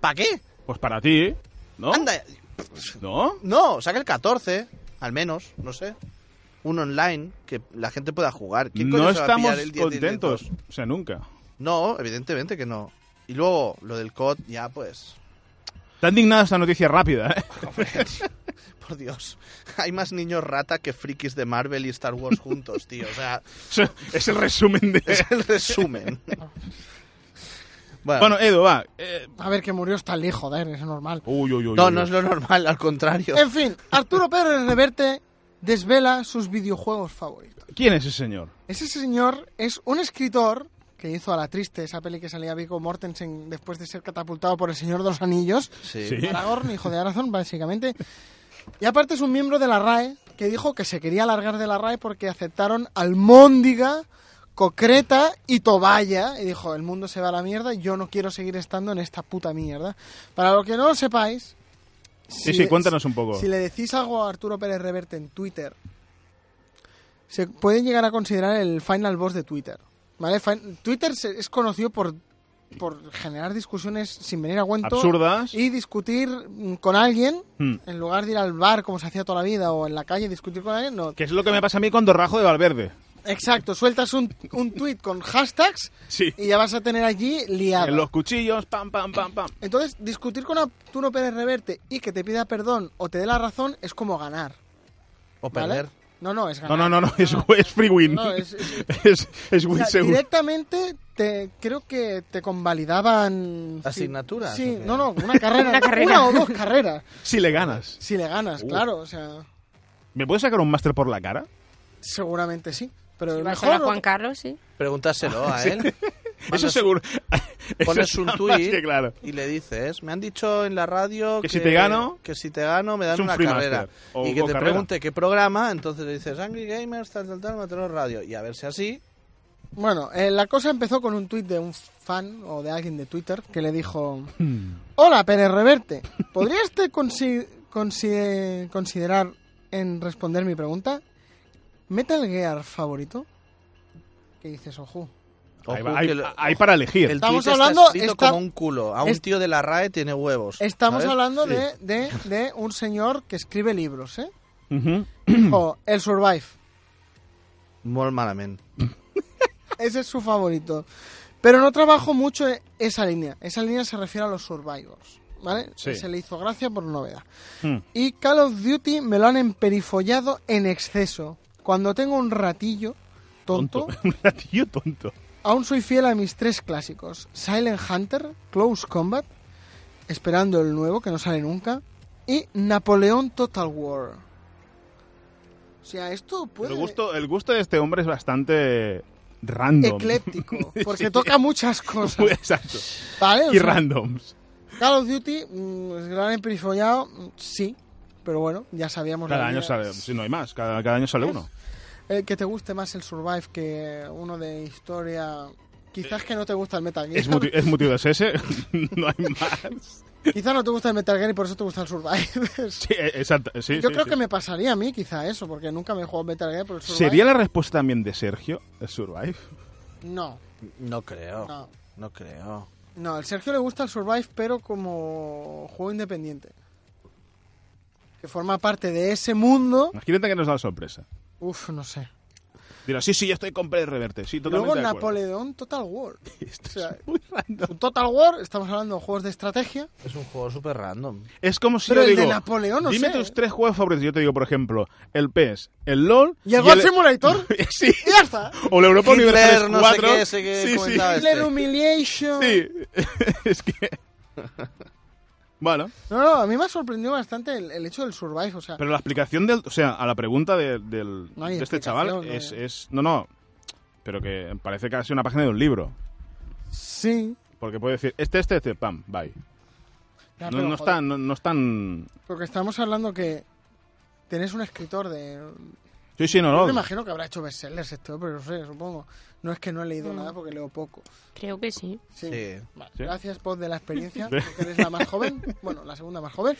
Speaker 4: ¿Para qué?
Speaker 2: Pues para ti, ¿no?
Speaker 4: Anda,
Speaker 2: ¿No?
Speaker 4: no, saca el 14, al menos, no sé. Un online que la gente pueda jugar. ¿Quién coño
Speaker 2: No
Speaker 4: se va a
Speaker 2: estamos
Speaker 4: pillar el 10 y el 10-2?
Speaker 2: contentos. O sea, nunca.
Speaker 4: No, evidentemente que no. Y luego, lo del COD, ya pues,
Speaker 2: Está indignada esta noticia rápida, ¿eh?
Speaker 4: por Dios. Hay más niños rata que frikis de Marvel y Star Wars juntos, tío. O sea,
Speaker 2: Eso Es el resumen de...
Speaker 4: es el resumen. Bueno,
Speaker 2: Bueno, Edo, va. Eh,
Speaker 5: A ver, que murió está el joder, es normal.
Speaker 2: Uy, uy, uy.
Speaker 4: no,
Speaker 2: uy,
Speaker 4: no
Speaker 2: uy.
Speaker 4: es lo normal, al contrario.
Speaker 2: Eh,
Speaker 5: En fin, Arturo Pérez Reverte desvela sus videojuegos favoritos.
Speaker 2: ¿Quién es ese señor?
Speaker 5: Ese señor es un escritor que hizo a la triste esa peli que salía Vico Mortensen después de ser catapultado por el Señor de los Anillos.
Speaker 4: Sí.
Speaker 2: Sí.
Speaker 5: Aragorn, hijo de Arazón, básicamente. Y aparte es un miembro de la RAE que dijo que se quería largar de la RAE porque aceptaron Almóndiga, Cocreta y Toballa. Y dijo, el mundo se va a la mierda, yo no quiero seguir estando en esta puta mierda. Para lo que no lo sepáis...
Speaker 2: Sí, sí, cuéntanos un poco.
Speaker 5: Si le decís algo a Arturo Pérez Reverte en Twitter, se puede llegar a considerar el final boss de Twitter. ¿Vale? Fin- Twitter se- es conocido por, por generar discusiones sin venir a cuento
Speaker 2: Absurdas.
Speaker 5: y discutir mm, con alguien
Speaker 2: Hmm.
Speaker 5: en lugar de ir al bar como se hacía toda la vida o en la calle discutir con alguien. No.
Speaker 2: Que es lo que me pasa a mí cuando rajo de Valverde.
Speaker 5: Exacto, sueltas un, un tweet con hashtags
Speaker 2: Sí.
Speaker 5: y ya vas a tener allí liado.
Speaker 2: En los cuchillos, pam, pam, pam, pam.
Speaker 5: Entonces, discutir con Arturo Pérez Reverte y que te pida perdón o te dé la razón es como ganar.
Speaker 4: O
Speaker 5: ¿vale?
Speaker 4: perder.
Speaker 5: No, no, es
Speaker 2: No,
Speaker 5: ganar.
Speaker 2: no, no, no, es, es free win.
Speaker 5: No, es- es-
Speaker 2: Es, es
Speaker 5: O
Speaker 2: win
Speaker 5: sea,
Speaker 2: seguro.
Speaker 5: directamente te creo que te convalidaban sí.
Speaker 4: ¿Asignaturas,
Speaker 5: Sí,
Speaker 4: o qué?
Speaker 5: no, no, una carrera, una o dos carreras
Speaker 2: Si le ganas.
Speaker 5: si le ganas,
Speaker 2: Uh.
Speaker 5: claro, o sea,
Speaker 2: ¿Me puedes sacar un máster por la cara?
Speaker 5: seguramente sí, pero
Speaker 3: Si vas a
Speaker 5: mejor
Speaker 3: la Juan Carlos, sí.
Speaker 4: Pregúntaselo a él.
Speaker 2: Ah, Eso
Speaker 4: Mandas-
Speaker 2: seguro. Eso
Speaker 4: Pones
Speaker 2: está
Speaker 4: un
Speaker 2: más
Speaker 4: tuit
Speaker 2: que claro.
Speaker 4: y le dices, me han dicho en la radio
Speaker 2: Que si te gano-
Speaker 4: que si te gano me dan
Speaker 2: Es un
Speaker 4: una
Speaker 2: free
Speaker 4: carrera.
Speaker 2: master, o-
Speaker 4: y que
Speaker 2: o
Speaker 4: te
Speaker 2: carrera.
Speaker 4: pregunte qué programa, entonces le dices Angry Gamers, tal, tal, tal, Matador Radio. Y a ver si así,
Speaker 5: Bueno, eh, la cosa empezó con un tuit de un fan o de alguien de Twitter que le dijo:
Speaker 2: Hmm.
Speaker 5: Hola, Pérez Reverte, ¿podrías te consi- consi- considerar en responder mi pregunta? ¿Metal Gear favorito? ¿Qué dices, ojo?
Speaker 2: Ahí
Speaker 4: ojo,
Speaker 2: va, hay,
Speaker 4: que lo-
Speaker 2: hay para elegir.
Speaker 4: el
Speaker 5: Estamos
Speaker 4: tuit
Speaker 5: hablando-
Speaker 4: está escrito
Speaker 5: está-
Speaker 4: como un culo. A un
Speaker 5: es-
Speaker 4: tío de la RAE tiene huevos.
Speaker 5: Estamos
Speaker 4: ¿sabes?
Speaker 5: hablando
Speaker 2: Sí.
Speaker 5: de, de, de un señor que escribe libros, ¿eh?
Speaker 2: Ujú.
Speaker 5: O el Survive.
Speaker 4: Molt malament.
Speaker 5: Ese es su favorito. Pero no trabajo mucho e- esa línea. Esa línea se refiere a los Survivors. ¿Vale?
Speaker 2: Sí.
Speaker 5: Se le hizo gracia por novedad.
Speaker 2: Hmm.
Speaker 5: Y Call of Duty me lo han emperifollado en exceso. Cuando tengo un ratillo tonto,
Speaker 2: Un ratillo tonto.
Speaker 5: aún soy fiel a mis tres clásicos: Silent Hunter, Close Combat, esperando el nuevo que no sale nunca, y Napoleón Total War. O sea, esto puede.
Speaker 2: El gusto, el gusto de este hombre es bastante random.
Speaker 5: Ecléptico, porque toca muchas
Speaker 2: Muy
Speaker 5: cosas.
Speaker 2: Exacto.
Speaker 5: ¿vale? O
Speaker 2: Y
Speaker 5: sea,
Speaker 2: randoms.
Speaker 5: Call of Duty, mm, se lo han emperifollado, mm, sí, pero bueno, ya sabíamos.
Speaker 2: Cada
Speaker 5: la
Speaker 2: año
Speaker 5: vida.
Speaker 2: sale, si no hay más, cada, cada año sale uno.
Speaker 5: Eh, que te guste más el Survive que uno de historia. Quizás que no te gusta el Metal Gear.
Speaker 2: Es, muti- es motivo de ese, no hay más.
Speaker 5: Quizás no te gusta el Metal Gear y por eso te gusta el Survive.
Speaker 2: Sí, eh, exacto. sí,
Speaker 5: Yo
Speaker 2: sí,
Speaker 5: creo
Speaker 2: sí.
Speaker 5: que me pasaría a mí quizá eso, porque nunca me he jugado Metal Gear por el Survive.
Speaker 2: ¿Sería la respuesta también de Sergio, el Survive?
Speaker 5: No,
Speaker 4: No creo. No,
Speaker 5: no.
Speaker 4: creo.
Speaker 5: No, al Sergio le gusta el Survive, pero como juego independiente. Que forma parte de ese mundo.
Speaker 2: Imagínate que nos da la sorpresa.
Speaker 5: Uf, no sé.
Speaker 2: Dirá, sí, sí, yo estoy con Pérez Reverte. Sí, totalmente
Speaker 5: Luego
Speaker 2: de acuerdo.
Speaker 5: Napoleón Total War.
Speaker 2: Esto
Speaker 5: o sea,
Speaker 2: es muy random.
Speaker 5: Un Total War, estamos hablando de juegos de estrategia.
Speaker 4: Es un juego súper random.
Speaker 2: Es como si
Speaker 5: Pero
Speaker 2: yo
Speaker 5: el de
Speaker 2: digo,
Speaker 5: Napoleón, no
Speaker 2: dime
Speaker 5: sé.
Speaker 2: tus tres juegos favoritos. Yo te digo, por ejemplo, el PES, el LOL...
Speaker 5: Y el Gold Simulator.
Speaker 2: Sí.
Speaker 5: Y ya está.
Speaker 2: O el Europa
Speaker 4: Hitler,
Speaker 2: Universalis
Speaker 4: no sé
Speaker 2: 4.
Speaker 4: qué, sé qué
Speaker 2: sí, Ah, sí,
Speaker 4: comentaba este.
Speaker 5: Hitler Humiliation.
Speaker 2: Sí, es que. Bueno,
Speaker 5: No, no, a mí me ha sorprendido bastante el, el hecho del Survive. O sea,
Speaker 2: pero la explicación del. O sea, a la pregunta de, del-
Speaker 5: No hay
Speaker 2: de este
Speaker 5: explicación,
Speaker 2: chaval
Speaker 5: no hay-
Speaker 2: es, es. No, no. Pero que parece casi una página de un libro.
Speaker 5: sí.
Speaker 2: Porque puede decir, este, este, este, pam, bye.
Speaker 5: Ya,
Speaker 2: No,
Speaker 5: Ah, pero
Speaker 2: no
Speaker 5: joder,
Speaker 2: están. No, no están.
Speaker 5: Porque estamos hablando que tenés un escritor de...
Speaker 2: Sí, sí, no,
Speaker 5: Yo
Speaker 2: no.
Speaker 5: me imagino que habrá hecho bestsellers esto, pero no sé, supongo. No es que no he leído nada porque leo poco.
Speaker 3: Creo que sí.
Speaker 5: Sí.
Speaker 4: Sí.
Speaker 5: Vale,
Speaker 2: Mm. Sí.
Speaker 5: Gracias, Pod, de la experiencia, porque eres la más joven. Bueno, la segunda más joven.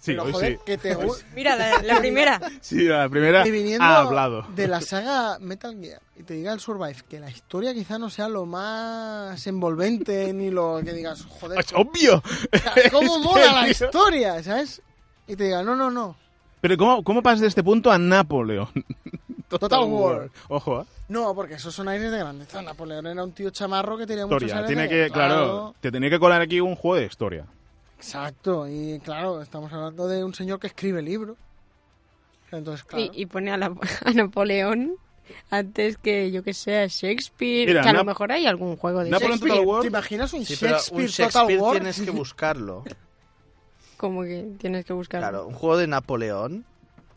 Speaker 2: Sí,
Speaker 5: pero,
Speaker 2: hoy
Speaker 5: joder,
Speaker 2: sí.
Speaker 5: que te... gu-
Speaker 3: Mira, la, la primera.
Speaker 2: Sí, a la primera
Speaker 5: Y viniendo
Speaker 2: ha hablado.
Speaker 5: de la saga Metal Gear y te diga el Survive que la historia quizá no sea lo más envolvente ni lo que digas, joder,
Speaker 2: Es Pues, obvio.
Speaker 5: ¿cómo
Speaker 2: Es que,
Speaker 5: mola la
Speaker 2: tío.
Speaker 5: historia? ¿Sabes? Y te diga, no, no, no.
Speaker 2: Pero ¿cómo, cómo pasas de este punto a Napoleón?
Speaker 5: Total War.
Speaker 2: Ojo, ¿eh?
Speaker 5: No, porque esos son aires de grandeza. Napoleón era un tío chamarro que tenía muchos
Speaker 2: Historia.
Speaker 5: aires
Speaker 2: Tiene
Speaker 5: de-
Speaker 2: que, claro, te tenía que colar aquí un juego de historia.
Speaker 5: Exacto, y claro, estamos hablando de un señor que escribe libros. Entonces, claro.
Speaker 3: Y, y pone a, la- a Napoleón antes que, yo que sé, a Shakespeare.
Speaker 2: Mira,
Speaker 3: que a lo
Speaker 2: Nap-
Speaker 3: mejor hay algún juego de
Speaker 2: Napoleón
Speaker 3: Shakespeare.
Speaker 2: Total War.
Speaker 5: ¿Te imaginas un
Speaker 4: Sí, pero
Speaker 5: Shakespeare,
Speaker 4: un Shakespeare
Speaker 5: Total War?
Speaker 4: tienes que buscarlo.
Speaker 3: Como que tienes que buscar.
Speaker 4: Claro, un juego de Napoleón.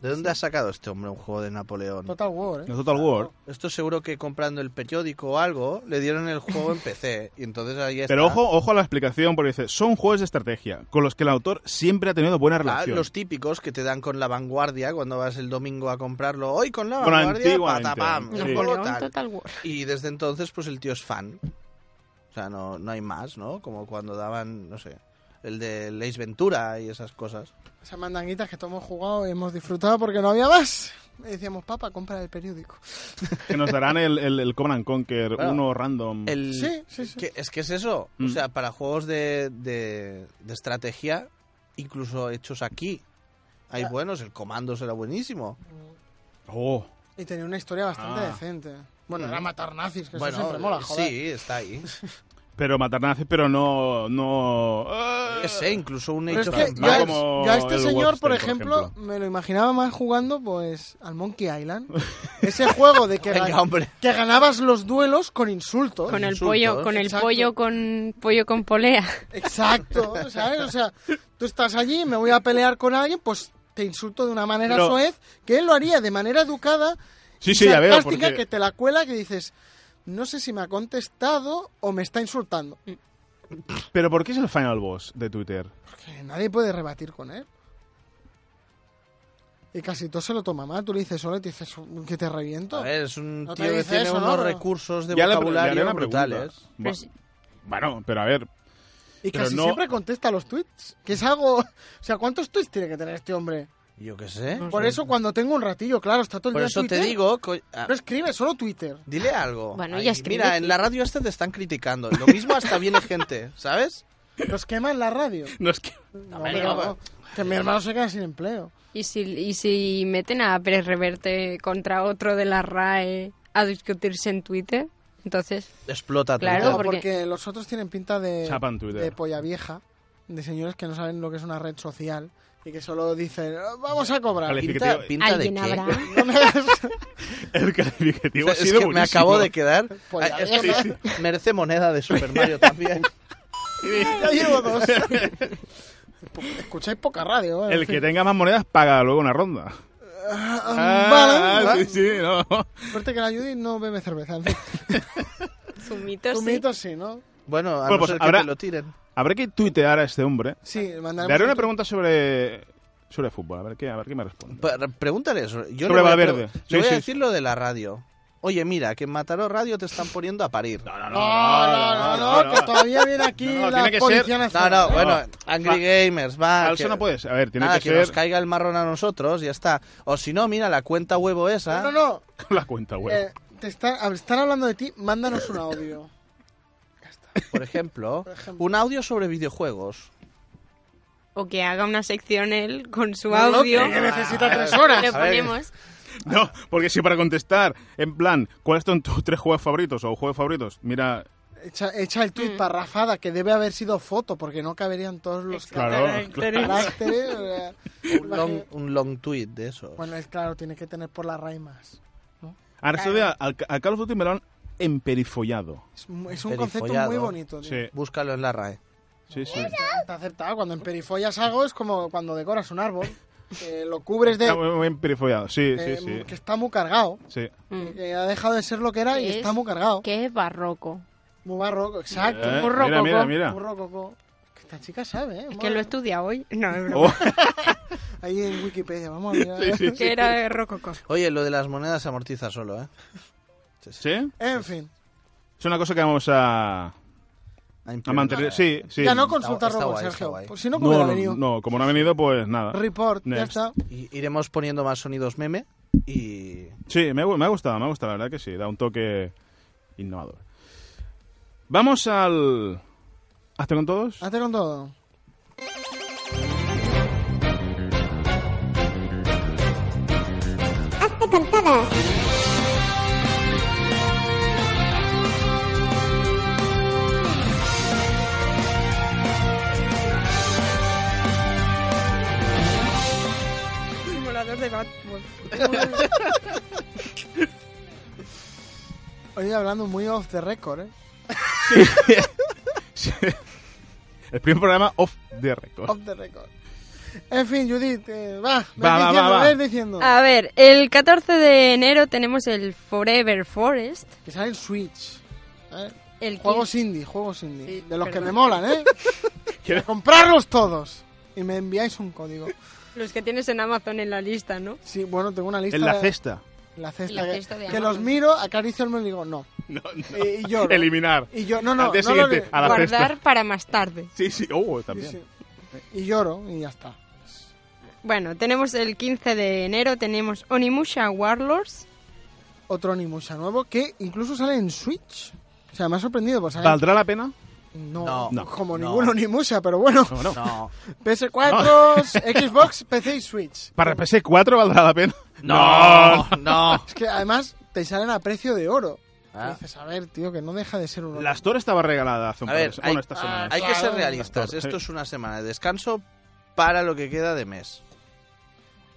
Speaker 4: ¿De dónde ha sacado este hombre un juego de Napoleón?
Speaker 5: Total War, ¿eh?
Speaker 2: No Total War.
Speaker 4: Esto seguro que comprando el periódico o algo, le dieron el juego en PC. Y entonces ahí está.
Speaker 2: Pero ojo, ojo a la explicación, porque dice, son juegos de estrategia, con los que el autor siempre ha tenido buena
Speaker 4: Ah,
Speaker 2: relación.
Speaker 4: los típicos que te dan con la vanguardia cuando vas el domingo a comprarlo. Hoy con la
Speaker 2: Bueno,
Speaker 4: vanguardia,
Speaker 2: antiguamente,
Speaker 4: patapam, el
Speaker 2: sí.
Speaker 4: juego
Speaker 3: Napoleón
Speaker 4: tal.
Speaker 3: Total War.
Speaker 4: Y desde entonces, pues el tío es fan. O sea, no, no hay más, ¿no? Como cuando daban, no sé, el de Leis Ventura y esas cosas.
Speaker 5: Esas mandanguitas que todos hemos jugado y hemos disfrutado porque no había más. Y decíamos, papá, compra el periódico.
Speaker 2: Que nos darán el, el, el Command and Conquer,
Speaker 4: Claro.
Speaker 2: uno random.
Speaker 4: El,
Speaker 5: Sí, sí, sí.
Speaker 4: que- es que es eso.
Speaker 2: Mm.
Speaker 4: O sea, para juegos de, de, de estrategia, incluso hechos aquí, hay buenos. El comando será buenísimo.
Speaker 2: Oh,
Speaker 5: Y tenía una historia bastante
Speaker 2: Ah.
Speaker 5: decente. Bueno,
Speaker 4: Mm.
Speaker 5: era matar nazis, que
Speaker 4: bueno,
Speaker 5: eso siempre mola, joder.
Speaker 4: sí, está ahí.
Speaker 2: pero matar nazis, pero no... no ah.
Speaker 4: Yo qué sé, incluso un
Speaker 5: Pero es
Speaker 4: hecho
Speaker 5: que
Speaker 2: Trump,
Speaker 5: yo,
Speaker 2: ¿no?
Speaker 5: a-
Speaker 2: Como
Speaker 5: yo a este
Speaker 2: el
Speaker 5: señor,
Speaker 2: Wolfenstein,
Speaker 5: por
Speaker 2: por
Speaker 5: ejemplo,
Speaker 2: ejemplo.
Speaker 5: me lo imaginaba más jugando pues al Monkey Island. Ese juego de que,
Speaker 4: Venga,
Speaker 5: ga-
Speaker 4: hombre.
Speaker 5: que ganabas los duelos con insultos.
Speaker 3: Con el
Speaker 4: insultos,
Speaker 3: pollo, con el
Speaker 5: exacto.
Speaker 3: pollo con pollo con polea.
Speaker 5: Exacto, ¿sabes? O sea, tú estás allí, me voy a pelear con alguien, pues te insulto de una manera
Speaker 2: Pero-
Speaker 5: soez, que él lo haría de manera educada
Speaker 2: Sí, sí, ya veo,
Speaker 5: sarcástica
Speaker 2: porque...
Speaker 5: que te la cuela que dices, no sé si me ha contestado o me está insultando.
Speaker 2: Pero ¿por qué es el final boss de Twitter?
Speaker 5: Porque nadie puede rebatir con él. Y casi todo se lo toma mal. Tú le dices solo y te dices que te reviento.
Speaker 4: A ver, es un
Speaker 5: No te
Speaker 4: tío que
Speaker 5: dice
Speaker 4: tiene
Speaker 5: eso, ¿no?
Speaker 4: unos
Speaker 5: Pero-
Speaker 4: recursos de
Speaker 2: Ya le- le haré
Speaker 4: Este vocabulario
Speaker 2: una pregunta.
Speaker 4: brutales.
Speaker 2: Bu-
Speaker 3: Pues-
Speaker 2: Bueno, pero a ver,
Speaker 5: y
Speaker 2: pero
Speaker 5: casi
Speaker 2: no-
Speaker 5: siempre contesta los tweets. Que es algo. O sea, ¿cuántos tweets tiene que tener este hombre?
Speaker 4: Yo qué sé.
Speaker 5: Por eso, cuando tengo un ratillo, claro, está todo el
Speaker 4: Por
Speaker 5: día en
Speaker 4: eso te
Speaker 5: Twitter.
Speaker 4: digo, co- ah,
Speaker 5: No escribe, solo Twitter.
Speaker 4: dile algo.
Speaker 3: Bueno,
Speaker 4: Ahí,
Speaker 3: ya escribe,
Speaker 4: Mira,
Speaker 3: sí.
Speaker 4: en la radio esta te están criticando. Lo mismo hasta viene gente, ¿sabes?
Speaker 5: Nos queman la radio.
Speaker 2: No es que...
Speaker 5: No,
Speaker 4: hombre,
Speaker 5: pero
Speaker 4: no.
Speaker 5: no, que mi hermano se queda sin empleo.
Speaker 3: ¿Y si, y si meten a Pérez Reverte contra otro de la RAE a discutirse en Twitter, entonces
Speaker 4: Explota
Speaker 3: Claro,
Speaker 5: No,
Speaker 4: Twitter.
Speaker 5: porque...
Speaker 3: porque-
Speaker 5: los otros tienen pinta
Speaker 4: Eh,
Speaker 5: de,
Speaker 2: Chapan Twitter.
Speaker 5: de polla vieja, de señores que no saben lo que es una red social y que solo dicen, "Ah, vamos a cobrar.
Speaker 2: Vale.
Speaker 4: Pinta, pinta de
Speaker 3: alguien
Speaker 4: qué.
Speaker 3: habrá.
Speaker 5: No me hagas-
Speaker 2: El calificativo
Speaker 4: O sea,
Speaker 2: ha
Speaker 4: es
Speaker 2: sido
Speaker 4: que me
Speaker 2: buenísimo.
Speaker 4: acabo de quedar.
Speaker 5: Pues ya
Speaker 4: Ah, esto merece moneda de Super Mario también.
Speaker 5: ya llevo dos. Escucháis poca radio. ¿eh? En
Speaker 2: El
Speaker 5: fin.
Speaker 2: que tenga más monedas paga luego una ronda.
Speaker 5: Ah,
Speaker 2: Ah,
Speaker 5: vale.
Speaker 2: sí, sí, no.
Speaker 5: Suerte que la Judith no bebe cerveza. En fin,
Speaker 3: Zumitos,
Speaker 5: tu mito sí, ¿no?
Speaker 4: Bueno, a
Speaker 2: Bueno,
Speaker 4: no
Speaker 2: pues
Speaker 4: ser
Speaker 2: habrá-
Speaker 4: que te lo tiren.
Speaker 2: Habrá que tuitear a este hombre.
Speaker 5: Sí, mandaremos...
Speaker 2: Le haré una
Speaker 5: otro-
Speaker 2: pregunta sobre, sobre fútbol, a ver qué, a ver qué me responde.
Speaker 4: Pa- Pues, Pregúntale eso.
Speaker 2: Sobre
Speaker 4: Yo le voy a,
Speaker 2: Valverde.
Speaker 4: pre-
Speaker 2: Sí,
Speaker 4: le voy
Speaker 2: sí,
Speaker 4: a decir lo de la radio. Oye, mira, que en Mataró Radio te están poniendo a parir. No,
Speaker 5: No, no, no, no, que todavía viene aquí
Speaker 2: No, no,
Speaker 5: la
Speaker 2: tiene que
Speaker 5: Policía
Speaker 2: ser-
Speaker 4: no,
Speaker 5: Nacional.
Speaker 4: bueno,
Speaker 2: No.
Speaker 4: Angry Gamers, va.
Speaker 2: Falso
Speaker 4: Ah, que-
Speaker 2: no puedes. A ver, tiene
Speaker 4: nada,
Speaker 2: que
Speaker 4: que,
Speaker 2: ser
Speaker 4: nos caiga el marrón a nosotros, ya está. O si no, mira, la cuenta huevo esa.
Speaker 5: No, no,
Speaker 2: la cuenta
Speaker 5: no.
Speaker 2: web.
Speaker 5: Eh, te está- a- están hablando de ti, mándanos un audio.
Speaker 4: Por, ejemplo,
Speaker 5: Por ejemplo.
Speaker 4: un audio sobre videojuegos.
Speaker 3: o que haga una sección él con su
Speaker 5: No, no,
Speaker 3: audio.
Speaker 5: que- que necesita tres horas.
Speaker 3: Le
Speaker 4: A ver.
Speaker 3: ponemos.
Speaker 2: No, porque si para contestar, en plan, ¿cuáles son tus tres juegos favoritos o juegos favoritos? Mira,
Speaker 5: Echa, echa el
Speaker 2: Mm.
Speaker 5: tuit parrafada, que debe haber sido foto, porque no caberían todos los
Speaker 2: Claro,
Speaker 3: caracteres.
Speaker 5: caracteres. o sea,
Speaker 4: Un
Speaker 5: imagi-
Speaker 4: long, un long tweet de eso.
Speaker 5: Bueno, es claro, tiene que tener por la raíz más.
Speaker 2: ahora se ve al, al Call of Duty me lo han emperifollado.
Speaker 5: Es, mu- es un concepto
Speaker 4: Perifollado.
Speaker 5: muy bonito. tío.
Speaker 4: Búscalo en la RAE.
Speaker 2: sí, sí.
Speaker 5: Está aceptado. Cuando emperifollas algo es como cuando decoras un árbol. que lo cubres de...
Speaker 2: Está muy, muy emperifollado, sí, sí,
Speaker 5: eh,
Speaker 2: sí. Eh,
Speaker 5: Que está muy cargado.
Speaker 2: sí.
Speaker 3: Mm.
Speaker 5: Que ha dejado de ser lo que era y
Speaker 3: Es-
Speaker 5: está muy cargado.
Speaker 3: Que es barroco.
Speaker 5: Muy barroco, exacto.
Speaker 2: Eh,
Speaker 3: burro
Speaker 2: mira, mira,
Speaker 3: coco,
Speaker 2: mira.
Speaker 5: Muy rococó. Que esta chica sabe, ¿eh?
Speaker 3: Es
Speaker 5: Vamos
Speaker 3: que
Speaker 5: a-
Speaker 3: lo estudia hoy. No, es broma.
Speaker 2: Oh,
Speaker 5: Ahí en Wikipedia, vamos a mirar.
Speaker 2: sí, sí, sí.
Speaker 3: Que era rococo.
Speaker 4: Oye, lo de las monedas se amortiza solo, ¿eh?
Speaker 2: ¿Sí?
Speaker 5: En fin,
Speaker 2: Es una cosa que vamos a, a mantener. Sí, sí.
Speaker 5: ya no consultar
Speaker 4: Está- está
Speaker 5: Robo,
Speaker 4: guay, está
Speaker 5: Sergio.
Speaker 4: guay.
Speaker 5: Pues si no, como
Speaker 2: no,
Speaker 5: ha
Speaker 2: no,
Speaker 5: venido.
Speaker 2: no, como no ha venido, pues nada.
Speaker 5: Report, ya
Speaker 2: Next.
Speaker 5: está.
Speaker 4: I- Iremos poniendo más sonidos meme y...
Speaker 2: Sí, me, ha gu- me ha gustado, me ha gustado, la verdad que sí, da un toque innovador. Vamos al... ¿Hazte con todos?
Speaker 5: Hazte con todo.
Speaker 3: Simulador de Batman.
Speaker 5: Hoy hablando muy off the record, ¿eh?
Speaker 2: Sí. El primer programa off the record.
Speaker 5: Off the record. En fin, Judith, eh, va, ven
Speaker 2: Va, va,
Speaker 5: diciendo,
Speaker 2: va, va.
Speaker 5: ven diciendo.
Speaker 3: A ver, el 14 de enero tenemos el Forever Forest.
Speaker 5: Que sale el Switch. ¿eh?
Speaker 3: El
Speaker 5: Juegos indie, juegos indie.
Speaker 3: Sí,
Speaker 5: de los que
Speaker 3: perdón.
Speaker 5: me molan, ¿eh?
Speaker 2: ¿Quieres?
Speaker 5: Comprarlos todos. Y me enviáis un código.
Speaker 3: 15, Los que tienes en Amazon en la lista, ¿no?
Speaker 5: Sí, bueno, tengo una lista.
Speaker 2: En la
Speaker 5: de-
Speaker 2: cesta.
Speaker 5: La cesta.
Speaker 3: La
Speaker 5: que-
Speaker 3: cesta de
Speaker 5: que
Speaker 3: Amazon.
Speaker 5: los miro, acaricio el móvil y digo, no. Y, y lloro.
Speaker 2: Eliminar.
Speaker 5: Y yo, no, no,
Speaker 2: Al día
Speaker 5: no lo
Speaker 2: siguiente,
Speaker 5: le-
Speaker 2: a la
Speaker 3: Guardar
Speaker 2: cesta.
Speaker 3: para más tarde.
Speaker 2: Sí, sí, oh,
Speaker 5: Sí,
Speaker 2: también.
Speaker 5: sí. Y lloro y ya está.
Speaker 3: Bueno, tenemos el 15 de enero, tenemos Onimusha Warlords.
Speaker 5: Otro Onimusha nuevo que incluso sale en Switch. O sea, me ha sorprendido. Pues sale...
Speaker 2: ¿Valdrá la pena?
Speaker 5: No,
Speaker 4: No,
Speaker 2: no,
Speaker 5: como
Speaker 4: no.
Speaker 5: ninguno Onimusha, pero bueno.
Speaker 2: No, no.
Speaker 4: No,
Speaker 5: PS4, Xbox, PC y Switch.
Speaker 2: ¿Para PS4 valdrá la pena?
Speaker 4: no, no.
Speaker 5: Es que además te salen a precio de oro.
Speaker 4: Ah.
Speaker 5: Y Dices, a ver, tío, que no deja de ser un oro.
Speaker 2: La Store estaba regalada hace un
Speaker 4: A
Speaker 2: par de
Speaker 4: ver,
Speaker 2: se-
Speaker 4: hay,
Speaker 2: Bueno, esta semana.
Speaker 4: hay que ser realistas. Esto es una semana de descanso para lo que queda de mes.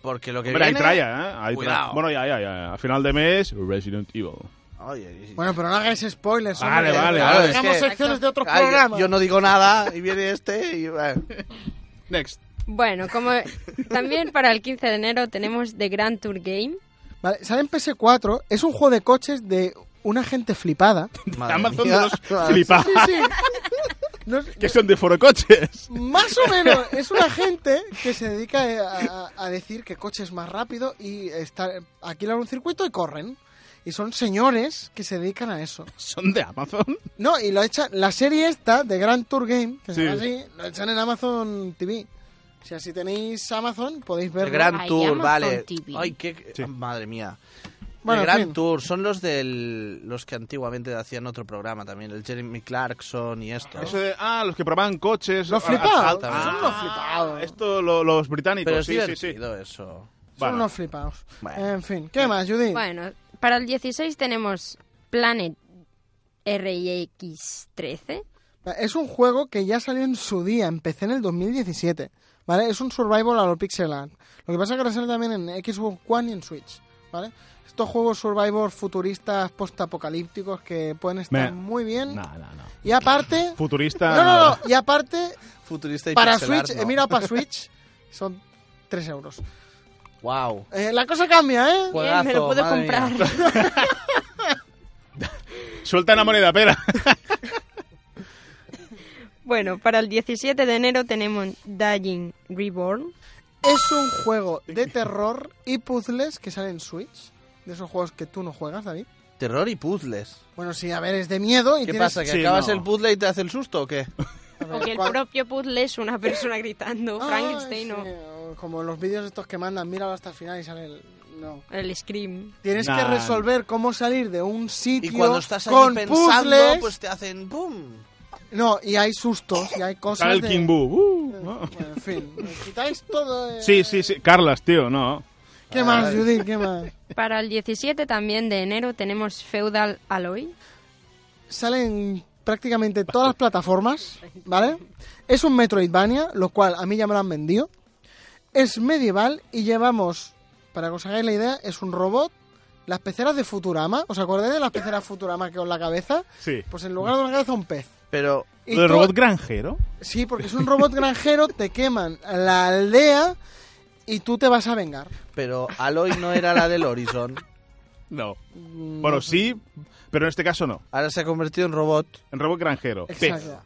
Speaker 4: Porque lo que
Speaker 2: Hombre, hay
Speaker 4: viene...
Speaker 2: traya, ¿eh? Hay traya.
Speaker 4: Cuidado.
Speaker 2: Bueno, ya, ya, ya. A final de mes, Resident Evil.
Speaker 4: Oye, y-
Speaker 5: Bueno, pero no hagáis spoilers.
Speaker 2: Vale,
Speaker 5: hombre, que
Speaker 2: vale,
Speaker 5: dejamos
Speaker 2: vale.
Speaker 5: Hagamos
Speaker 4: Es que-
Speaker 5: secciones de otros
Speaker 4: Ay, yo-
Speaker 5: programas.
Speaker 4: yo no digo nada y viene este y... bueno.
Speaker 2: Next.
Speaker 3: Bueno, como también para el 15 de enero tenemos The Grand Tour Game.
Speaker 5: Vale, sale en PS4. Es un juego de coches de una gente flipada.
Speaker 4: Madre
Speaker 2: Amazon
Speaker 4: mía.
Speaker 2: de los flipados.
Speaker 5: No es-
Speaker 2: Que son de forocoches.
Speaker 5: Más o menos, es una gente que se dedica eh, a, a- a decir que coche es más rápido y está, alquilan un circuito y corren. Y son señores que se dedican a eso.
Speaker 2: Son de Amazon.
Speaker 5: No, y lo echan, la serie esta de Grand Tour Game, que se llama
Speaker 2: Sí.
Speaker 5: así, lo echan en Amazon TV. O sea, si tenéis Amazon podéis
Speaker 4: El
Speaker 5: verlo.
Speaker 4: Gran
Speaker 3: Ay,
Speaker 4: Tour,
Speaker 3: Amazon
Speaker 4: vale.
Speaker 3: TV.
Speaker 4: Ay, qué...
Speaker 2: Sí.
Speaker 4: Madre mía.
Speaker 5: Bueno,
Speaker 4: el Grand
Speaker 5: en fin.
Speaker 4: Tour, son los del los que antiguamente hacían otro programa también, el Jeremy Clarkson y esto.
Speaker 2: Eso de, ah, los que probaban coches.
Speaker 5: Los
Speaker 2: ah,
Speaker 5: flipados,
Speaker 2: ah,
Speaker 4: son
Speaker 5: unos flipados.
Speaker 2: Esto, lo- los británicos,
Speaker 4: Pero es
Speaker 2: sí, sí, sí.
Speaker 4: divertido eso.
Speaker 5: Son
Speaker 2: Bueno.
Speaker 5: unos flipados.
Speaker 4: Bueno.
Speaker 5: En fin, ¿qué más, Judith?
Speaker 3: Bueno, para el 16 tenemos Planet RX 13.
Speaker 5: Es un juego que ya salió en su día, empecé en el 2017, ¿vale? Es un survival a lo pixel art. Lo que pasa es que ahora sale también en Xbox One y en Switch, ¿vale? Estos juegos survival futuristas postapocalípticos que pueden
Speaker 2: Me-
Speaker 5: estar muy bien.
Speaker 2: no, no.
Speaker 5: Y aparte...
Speaker 2: Futurista.
Speaker 5: No, no, no. Y aparte,
Speaker 4: Futurista y
Speaker 5: para
Speaker 4: pixel art,
Speaker 5: Switch,
Speaker 4: no.
Speaker 5: he mirado para Switch, son 3 euros.
Speaker 4: Wow.
Speaker 5: Eh, la cosa cambia, ¿eh?
Speaker 4: Juegazo,
Speaker 3: me lo puedo
Speaker 4: madre mía.
Speaker 3: comprar.
Speaker 2: Suelta una moneda, pera.
Speaker 3: Bueno, para el 17 de enero tenemos Dying Reborn.
Speaker 5: Es un juego de terror y puzzles que sale en Switch. De esos juegos que tú no juegas, David.
Speaker 4: Terror y puzzles.
Speaker 5: Bueno, sí, a ver, es de miedo y
Speaker 4: ¿Qué
Speaker 5: tienes...
Speaker 4: pasa? ¿Que
Speaker 2: Sí,
Speaker 4: acabas
Speaker 2: no.
Speaker 4: el puzzle y te hace el susto o qué?
Speaker 5: a ver,
Speaker 3: O que el
Speaker 5: cuál-
Speaker 3: propio puzzle es una persona gritando
Speaker 5: Ay,
Speaker 3: Frankenstein
Speaker 5: Ah, sí, o Como los vídeos estos que mandan, míralo hasta el final y sale el... No.
Speaker 3: o el Scream.
Speaker 5: Tienes que
Speaker 2: Nah.
Speaker 5: resolver cómo salir de un
Speaker 4: Y
Speaker 5: sitio
Speaker 4: cuando estás ahí
Speaker 5: con
Speaker 4: pensando,
Speaker 5: puzzles.
Speaker 4: pues te hacen ¡pum!
Speaker 5: No, y hay sustos y hay cosas
Speaker 2: Sale el
Speaker 5: de...
Speaker 2: King Boo. Uh,
Speaker 5: Bueno,
Speaker 2: ¿no?
Speaker 5: en fin, me quitáis todo... eh.
Speaker 2: Sí, sí, sí. Carlas, tío, no.
Speaker 5: ¿Qué más, Judith? ¿Qué más?
Speaker 3: Para el 17 también de enero tenemos Feudal Alloy.
Speaker 5: salen prácticamente todas las plataformas, ¿vale? Es un Metroidvania, lo cual a mí ya me lo han vendido. Es medieval y llevamos, para que os hagáis la idea, es un robot, las peceras de Futurama. ¿Os acordáis de las peceras Futurama que con la cabeza?
Speaker 2: Sí.
Speaker 5: Pues en lugar de una cabeza, un pez.
Speaker 4: Pero
Speaker 5: Y
Speaker 2: Lo del
Speaker 5: tú-
Speaker 2: robot granjero.
Speaker 5: Sí, porque es un robot granjero, te queman la aldea y tú te vas a vengar.
Speaker 4: Pero Aloy no era la del Horizon.
Speaker 2: No. Bueno, sí, pero en este caso no.
Speaker 4: Ahora se ha convertido en robot.
Speaker 2: En robot granjero. Pez.
Speaker 5: Exacto.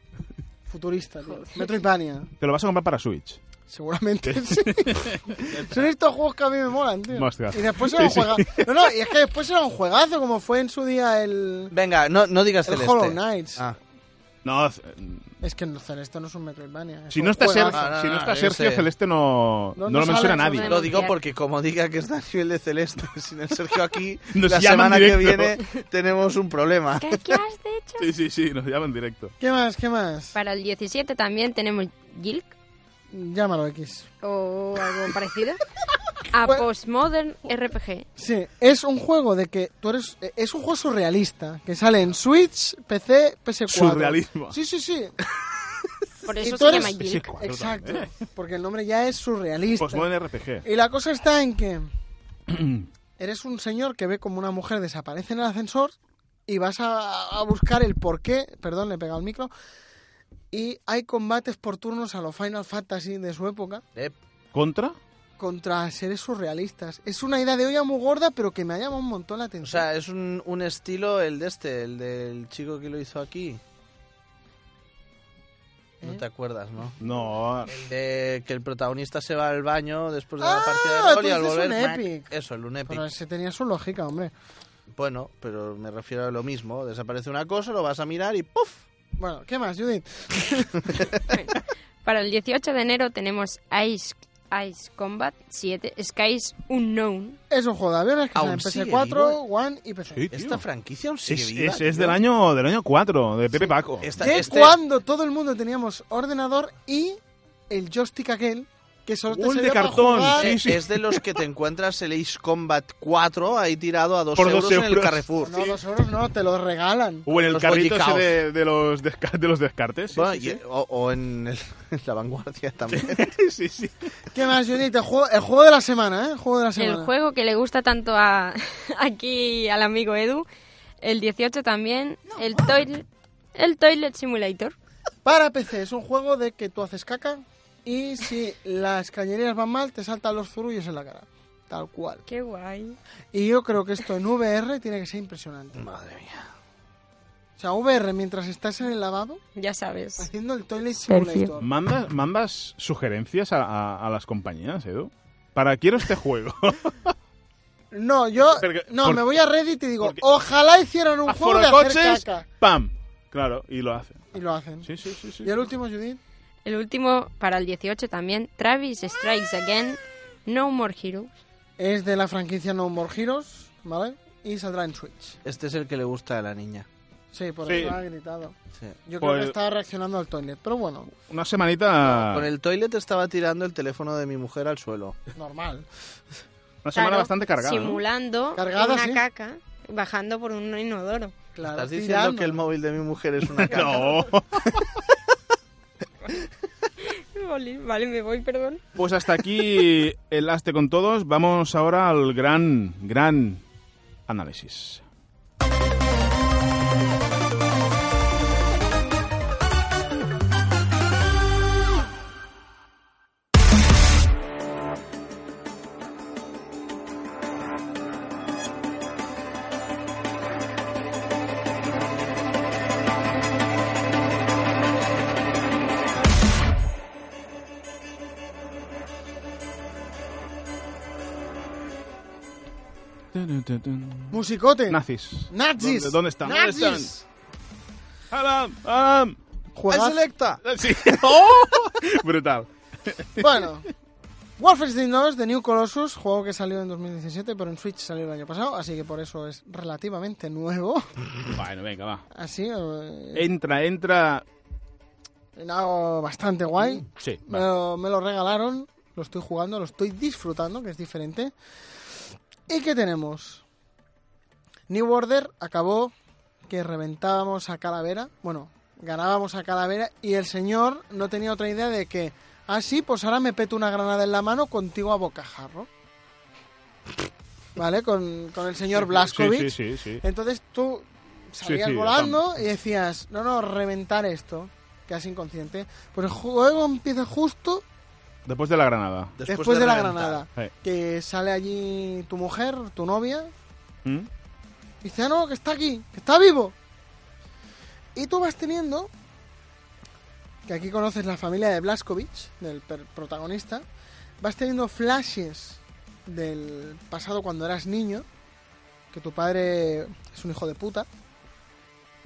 Speaker 5: Futurista, tío. Metroidvania.
Speaker 2: Te lo vas a comprar para Switch.
Speaker 5: Seguramente sí. son estos juegos que a mí me molan, tío.
Speaker 2: Hostia.
Speaker 5: Y después era un
Speaker 2: Sí, sí.
Speaker 5: juegazo. No, no, y es que después era un juegazo, como fue en su día el.
Speaker 4: Venga, no, no digas
Speaker 5: El
Speaker 4: celeste.
Speaker 5: Hollow Knights.
Speaker 4: Ah,
Speaker 2: No, c-
Speaker 5: Es que no, esto no es un Metroidvania. es
Speaker 2: si
Speaker 5: un
Speaker 2: no está, Ser-
Speaker 4: No,
Speaker 5: juegazo.
Speaker 4: no,
Speaker 2: si no
Speaker 4: no,
Speaker 2: está
Speaker 4: yo
Speaker 2: Sergio
Speaker 4: sé.
Speaker 2: Celeste, no,
Speaker 5: No,
Speaker 2: no,
Speaker 5: no
Speaker 2: lo menciona
Speaker 5: sale,
Speaker 2: nadie.
Speaker 3: no-
Speaker 4: lo digo porque como diga que está a nivel de celeste sin el Sergio aquí,
Speaker 2: Nos
Speaker 4: la
Speaker 2: llaman
Speaker 4: semana que viene
Speaker 2: directo.
Speaker 4: tenemos un problema.
Speaker 3: ¿Qué, qué has hecho?
Speaker 2: Sí, sí, sí, nos llaman directo.
Speaker 5: ¿Qué más? ¿Qué más?
Speaker 3: Para el 17 también tenemos Gilk
Speaker 5: Llámalo X.
Speaker 3: o algo parecido. A Postmodern RPG.
Speaker 5: Sí, es un juego de que tú eres. eh, Es un juego surrealista que sale en Switch, PC, PS4.
Speaker 2: Surrealismo.
Speaker 5: Sí, sí, sí.
Speaker 3: Por
Speaker 5: Y
Speaker 3: eso
Speaker 5: tú
Speaker 3: se
Speaker 5: eres-
Speaker 3: llama Gilk.
Speaker 5: Exacto. Porque el nombre ya es surrealista.
Speaker 2: Postmodern RPG.
Speaker 5: Y la cosa está en que eres un señor que ve como una mujer desaparece en el ascensor y vas a, a buscar el porqué. Perdón, le he pegado el micro. Y hay combates por turnos a los Final Fantasy de su época
Speaker 4: Eh,
Speaker 2: ¿Contra?
Speaker 5: contra seres surrealistas. Es una idea de olla muy gorda, pero que me ha llamado un montón la
Speaker 4: o
Speaker 5: atención.
Speaker 4: sea, es un, un estilo el de este, el del chico que lo hizo aquí.
Speaker 5: ¿Eh?
Speaker 4: No te acuerdas, ¿no?
Speaker 2: No.
Speaker 4: De que el protagonista se va al baño después de la
Speaker 5: Ah,
Speaker 4: partida de rol y
Speaker 5: tú
Speaker 4: al
Speaker 5: dices
Speaker 4: volver...
Speaker 5: un
Speaker 4: ¡mac!
Speaker 5: epic.
Speaker 4: Eso, el un epic.
Speaker 5: pero ese tenía su lógica, hombre.
Speaker 4: Bueno, pero me refiero a lo mismo. Desaparece una cosa, lo vas a mirar y ¡puf!
Speaker 5: Bueno, ¿qué más, Judith?
Speaker 3: Para el 18 de enero tenemos Ice, Ice Combat 7 Skies Unknown.
Speaker 5: Es un juego de aviones que sale en
Speaker 4: Aún sigue
Speaker 5: PS4,
Speaker 4: vivo.
Speaker 5: One y PC.
Speaker 2: Sí, tío.
Speaker 4: Esta franquicia aún sigue
Speaker 2: es,
Speaker 4: viva,
Speaker 2: es- es
Speaker 4: tío.
Speaker 2: del año del año 4, de Pepe Paco.
Speaker 4: Esta-
Speaker 5: que
Speaker 4: este-
Speaker 5: cuando todo el mundo teníamos ordenador y el joystick aquel que solo te
Speaker 2: Un de
Speaker 5: servía para
Speaker 2: cartón,
Speaker 5: jugar.
Speaker 2: sí,
Speaker 4: eh,
Speaker 2: sí.
Speaker 4: Es de los que te encuentras el Ace Combat 4 ahí tirado a 2
Speaker 2: Por
Speaker 4: euros,
Speaker 2: dos
Speaker 4: en el
Speaker 2: euros.
Speaker 4: Carrefour.
Speaker 5: Ah, No, dos euros no, te lo regalan.
Speaker 2: O en el
Speaker 4: Los
Speaker 2: carrito ese
Speaker 4: bollicaos.
Speaker 2: de, de los desca- de los descartes. Sí,
Speaker 4: Bueno,
Speaker 2: sí,
Speaker 4: y- O, o en, el- en la vanguardia también.
Speaker 2: sí. Sí, sí.
Speaker 5: ¿Qué más, Judith? El juego, el juego de la semana, ¿eh? El juego de la semana.
Speaker 3: El juego que le gusta tanto a aquí al amigo Edu. El 18 también. El, toil- el Toilet Simulator.
Speaker 5: Para PC, es un juego de que tú haces caca y si las cañerías van mal, te saltan los zurullos en la cara. Tal cual.
Speaker 3: Qué guay.
Speaker 5: Y yo creo que esto en VR tiene que ser impresionante.
Speaker 4: Madre mía.
Speaker 5: O sea, VR mientras estás en el lavabo
Speaker 3: Ya sabes.
Speaker 5: haciendo el toilet
Speaker 3: Sergio.
Speaker 5: simulator.
Speaker 2: Mandas, mandas sugerencias a, a- a las compañías, Edu. Para quiero este juego.
Speaker 5: No, yo
Speaker 2: Porque-
Speaker 5: no,
Speaker 2: porque-
Speaker 5: me voy a Reddit y digo,
Speaker 2: porque-
Speaker 5: ojalá hicieran un juego de hacer
Speaker 2: coches,
Speaker 5: caca.
Speaker 2: ¡pam! Claro, y lo hacen.
Speaker 5: Y lo hacen.
Speaker 2: Sí, sí, sí. sí.
Speaker 5: Y el último, Judith.
Speaker 3: El último para el 18 también. Travis Strikes Again. No More Heroes.
Speaker 5: Es de la franquicia No More Heroes, ¿vale? y saldrá en Switch.
Speaker 4: Este es el que le gusta a la niña.
Speaker 5: Sí, por
Speaker 2: Sí. Pues
Speaker 5: eso ha gritado.
Speaker 4: Sí.
Speaker 5: Yo
Speaker 2: Por
Speaker 5: creo que
Speaker 2: el-
Speaker 5: estaba reaccionando al toilet, pero bueno,
Speaker 2: Una semanita...
Speaker 4: Con el toilet estaba tirando el teléfono de mi mujer al suelo.
Speaker 5: normal.
Speaker 2: Una semana
Speaker 3: Claro,
Speaker 2: bastante cargada, ¿no?
Speaker 3: Simulando
Speaker 5: Cargada,
Speaker 3: una
Speaker 5: sí.
Speaker 3: caca bajando por un inodoro.
Speaker 5: Claro,
Speaker 4: Estás diciendo
Speaker 5: tirando.
Speaker 4: que el móvil de mi mujer es una caca.
Speaker 2: No.
Speaker 3: Vale, vale, me voy, perdón.
Speaker 2: Pues hasta aquí el Aste con todos. Vamos ahora al gran, gran análisis.
Speaker 5: Musicote.
Speaker 2: Nazis.
Speaker 5: Nazis.
Speaker 2: ¿Dónde- dónde están? ¿Dónde
Speaker 5: Nazis.
Speaker 2: están? ¡Alam! ¡Alam!
Speaker 5: Juegazo.
Speaker 4: selecta!
Speaker 2: Sí. ¡Oh! Brutal.
Speaker 5: Bueno, Wolfenstein 2 de New Colossus, juego que salió en 2017, pero en Switch salió el año pasado, así que por eso es relativamente nuevo.
Speaker 2: Bueno, venga, va.
Speaker 5: Así, eh,
Speaker 2: Entra, entra.
Speaker 5: en algo bastante guay.
Speaker 2: Mm, Sí,
Speaker 5: Me
Speaker 2: va.
Speaker 5: lo, me lo regalaron, lo estoy jugando, lo estoy disfrutando, que es diferente. ¿Y qué tenemos? New Order acabó que reventábamos a Calavera, bueno, ganábamos a Calavera y el señor no tenía otra idea de que, ah sí, pues ahora me peto una granada en la mano contigo a bocajarro. ¿Vale? Con, con el señor
Speaker 2: Sí,
Speaker 5: Blaskovich.
Speaker 2: sí, sí. sí.
Speaker 5: Entonces tú salías
Speaker 2: Sí, sí,
Speaker 5: volando y decías, no, no, reventar esto, que es inconsciente. Pues el juego empieza justo
Speaker 2: Después de la granada.
Speaker 5: después, de, la
Speaker 4: reventar.
Speaker 5: granada.
Speaker 2: Sí.
Speaker 5: Que sale allí tu mujer, tu novia,
Speaker 2: ¿Mm?
Speaker 5: y dice, ah, no, que está aquí, que está vivo. Y tú vas teniendo, que aquí conoces la familia de Blaskovich, del per- protagonista, vas teniendo flashes del pasado cuando eras niño, que tu padre es un hijo de puta,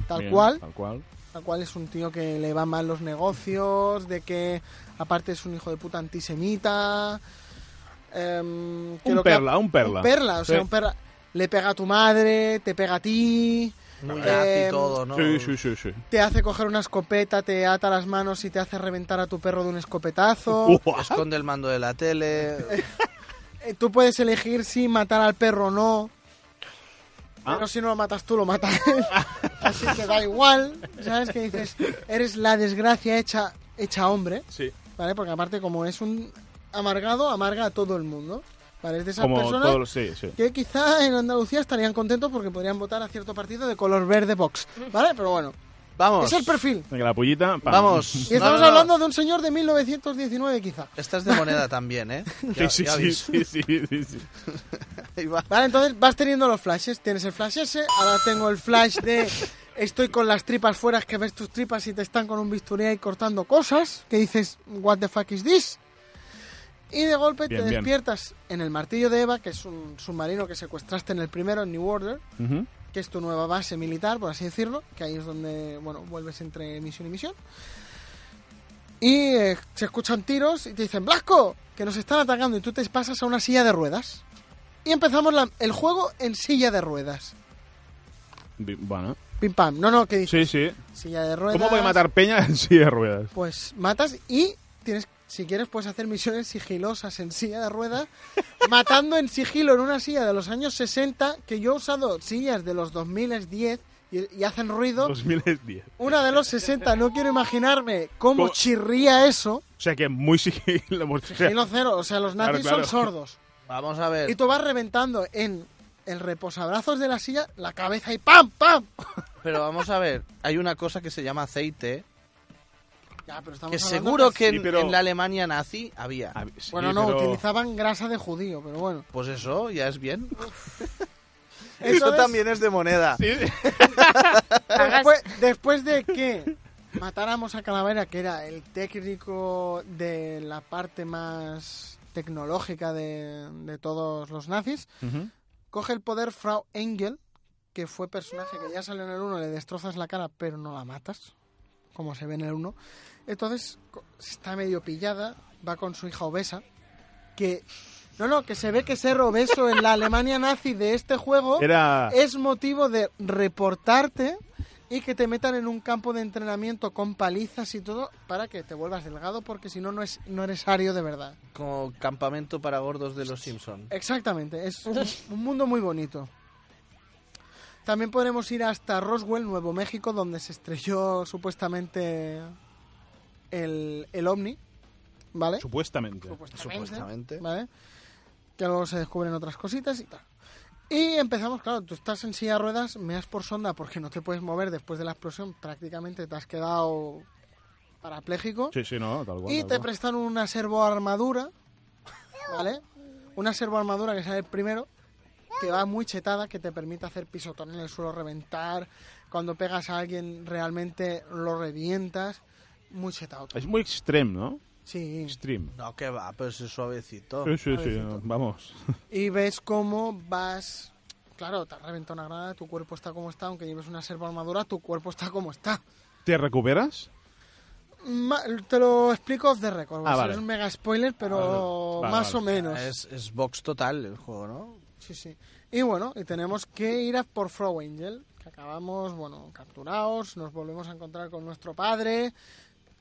Speaker 5: tal
Speaker 2: Bien,
Speaker 5: cual,
Speaker 2: Tal cual.
Speaker 5: Tal cual es un tío que le va mal los negocios, de que aparte es un hijo de puta antisemita. em, que
Speaker 2: Un
Speaker 5: lo que ha-
Speaker 2: perla, un perla.
Speaker 5: Un perla, o sea,
Speaker 2: Sí.
Speaker 5: un perla. Le pega a tu madre, te pega a ti,
Speaker 4: Muy
Speaker 5: Eh,
Speaker 4: nazi todo, ¿no?
Speaker 2: Sí, sí, sí, sí.
Speaker 5: te hace coger una escopeta, te ata las manos y te hace reventar a tu perro de un escopetazo.
Speaker 2: Uah.
Speaker 4: Esconde el mando de la tele.
Speaker 5: Eh, Tú puedes elegir si matar al perro o no.
Speaker 2: Ah.
Speaker 5: Pero si no lo matas tú, lo matas. él. Así que da igual. ¿Sabes qué dices? Eres la desgracia hecha, hecha hombre.
Speaker 2: Sí.
Speaker 5: ¿vale? Porque aparte como es un amargado, amarga a todo el mundo, ¿vale? Es de esas
Speaker 2: Como
Speaker 5: personas
Speaker 2: todos los. Sí, sí.
Speaker 5: que quizá en Andalucía estarían contentos porque podrían votar a cierto partido de color verde Vox, ¿vale? Pero bueno,
Speaker 4: Vamos.
Speaker 5: es el perfil.
Speaker 2: Venga, la pullita. pam.
Speaker 4: Vamos.
Speaker 5: Y estamos
Speaker 4: No, no, no.
Speaker 5: hablando de un señor de 1919 quizá.
Speaker 4: Estás de moneda también, ¿eh? Ya-
Speaker 2: Sí, sí,
Speaker 4: ya
Speaker 2: sí,
Speaker 4: vis.
Speaker 2: sí, sí, sí, sí.
Speaker 4: Ahí va.
Speaker 5: Vale, entonces vas teniendo los flashes. Tienes el flash ese, ahora tengo el flash de estoy con las tripas fuera, es que ves tus tripas y te están con un bisturí ahí cortando cosas, que dices, what the fuck is this? Y de golpe
Speaker 2: Bien,
Speaker 5: te
Speaker 2: bien.
Speaker 5: despiertas en el martillo de Eva, que es un submarino que secuestraste en el primero, en New Order,
Speaker 2: Ujú.
Speaker 5: que es tu nueva base militar, por así decirlo, que ahí es donde, bueno, vuelves entre misión y misión. Y eh, se escuchan tiros y te dicen, Blasco, que nos están atacando, y tú te pasas a una silla de ruedas. Y empezamos la- el juego en silla de ruedas.
Speaker 2: Bi- Bueno.
Speaker 5: Pim pam. No, no, que dices?
Speaker 2: Sí, sí.
Speaker 5: Silla de ruedas.
Speaker 2: ¿Cómo voy a matar peña en silla de ruedas?
Speaker 5: Pues matas y tienes, si quieres, puedes hacer misiones sigilosas en silla de ruedas, matando en sigilo en una silla de los años 60, que yo he usado sillas de los 2010 y, y hacen ruido.
Speaker 2: 2010.
Speaker 5: Una de los 60, no quiero imaginarme cómo
Speaker 2: ¿Cómo?
Speaker 5: chirría eso.
Speaker 2: O sea que muy sigilo. o sea,
Speaker 5: Y no cero, o sea, los
Speaker 2: Claro,
Speaker 5: nazis
Speaker 2: claro.
Speaker 5: son sordos.
Speaker 4: Vamos a ver.
Speaker 5: Y tú vas reventando en el reposabrazos de la silla la cabeza y ¡pam, pam!
Speaker 4: Pero vamos a ver. Hay una cosa que se llama aceite.
Speaker 5: Ya, pero estamos
Speaker 4: Que
Speaker 5: hablando
Speaker 4: seguro
Speaker 5: de-
Speaker 4: que en,
Speaker 2: Sí, pero-
Speaker 4: en la Alemania nazi había.
Speaker 2: a ver, sí,
Speaker 5: Bueno, no,
Speaker 2: pero-
Speaker 5: utilizaban grasa de judío, pero bueno.
Speaker 4: Pues eso, ya es bien.
Speaker 5: Eso es-
Speaker 4: es de moneda.
Speaker 2: Sí.
Speaker 5: Después, después de que matáramos a Calavera, que era el técnico de la parte más tecnológica de, de todos los nazis,
Speaker 2: Ujú.
Speaker 5: coge el poder Frau Engel, que fue personaje que ya salió en el 1, le destrozas la cara, pero no la matas, como se ve en el 1. Entonces co- está medio pillada, va con su hija obesa, que No, no, que se ve que ser obeso en la Alemania nazi de este juego
Speaker 2: Era...
Speaker 5: es motivo de reportarte y que te metan en un campo de entrenamiento con palizas y todo para que te vuelvas delgado porque si no no es no eres ario de verdad.
Speaker 4: Como campamento para gordos de los Simpson.
Speaker 5: Exactamente, es un, un mundo muy bonito. También podremos ir hasta Roswell, Nuevo México, donde se estrelló supuestamente el, el ovni, ¿vale?
Speaker 2: Supuestamente.
Speaker 4: Supuestamente.
Speaker 5: ¿vale? Que luego se descubren otras cositas y tal. Y empezamos, claro, tú estás en silla de ruedas, meas por sonda porque no te puedes mover después de la explosión, prácticamente te has quedado parapléjico.
Speaker 2: Sí, sí, no, tal cual.
Speaker 5: y
Speaker 2: tal
Speaker 5: te
Speaker 2: cual.
Speaker 5: prestan una servoarmadura, ¿vale? Una servoarmadura que sale el primero, que va muy chetada, que te permite hacer pisotón en el suelo, reventar. Cuando pegas a alguien, realmente lo revientas. Muy chetado.
Speaker 2: Es muy extreme, ¿no?
Speaker 5: Sí.
Speaker 2: Extreme.
Speaker 4: No, que va, pero es suavecito.
Speaker 2: Sí, sí, sí,
Speaker 5: Suavecito.
Speaker 2: vamos.
Speaker 5: y ves cómo vas. Claro, te has reventado una granada, tu cuerpo está como está, aunque lleves una serva armadura, tu cuerpo está como está.
Speaker 2: ¿Te recuperas?
Speaker 5: Ma- te lo explico off the record, va a
Speaker 2: Ah,
Speaker 5: ser
Speaker 2: vale.
Speaker 5: un mega spoiler, pero
Speaker 2: Vale,
Speaker 5: más
Speaker 2: vale.
Speaker 5: o menos.
Speaker 4: Es, es box total el juego, ¿no?
Speaker 5: Sí, sí. Y bueno, y tenemos que ir a por Frau Angel, que acabamos, bueno, capturados, nos volvemos a encontrar con nuestro padre,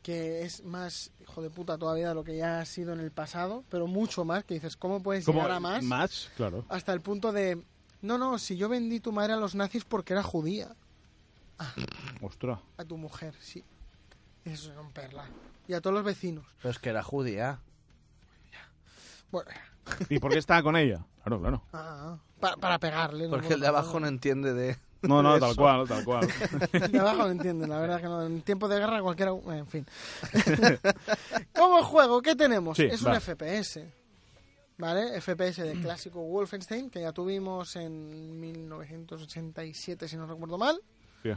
Speaker 5: que es más hijo de puta todavía de lo que ya ha sido en el pasado, pero mucho más, que dices, ¿cómo puedes
Speaker 2: ¿Cómo?
Speaker 5: llegar a más?
Speaker 2: Más, claro.
Speaker 5: Hasta el punto de, no, no, si yo vendí tu madre a los nazis porque era judía,
Speaker 2: Ostras.
Speaker 5: a tu mujer, sí. Eso es un perla. Y a todos los vecinos.
Speaker 4: Pero es que era judía.
Speaker 5: Bueno,
Speaker 2: ¿Y por qué estaba con ella? Claro, claro.
Speaker 5: ah, para, para pegarle. ¿no?
Speaker 4: Porque el de abajo no entiende de...
Speaker 2: No, no, tal
Speaker 4: Eso.
Speaker 2: cual, tal cual.
Speaker 5: De abajo lo entienden, la verdad que no. En tiempo de guerra cualquiera... En fin. Como juego, ¿qué tenemos?
Speaker 2: Sí,
Speaker 5: es
Speaker 2: vale.
Speaker 5: un FPS. ¿Vale? FPS del clásico Wolfenstein, que ya tuvimos en 1987, si no recuerdo mal.
Speaker 2: Sí,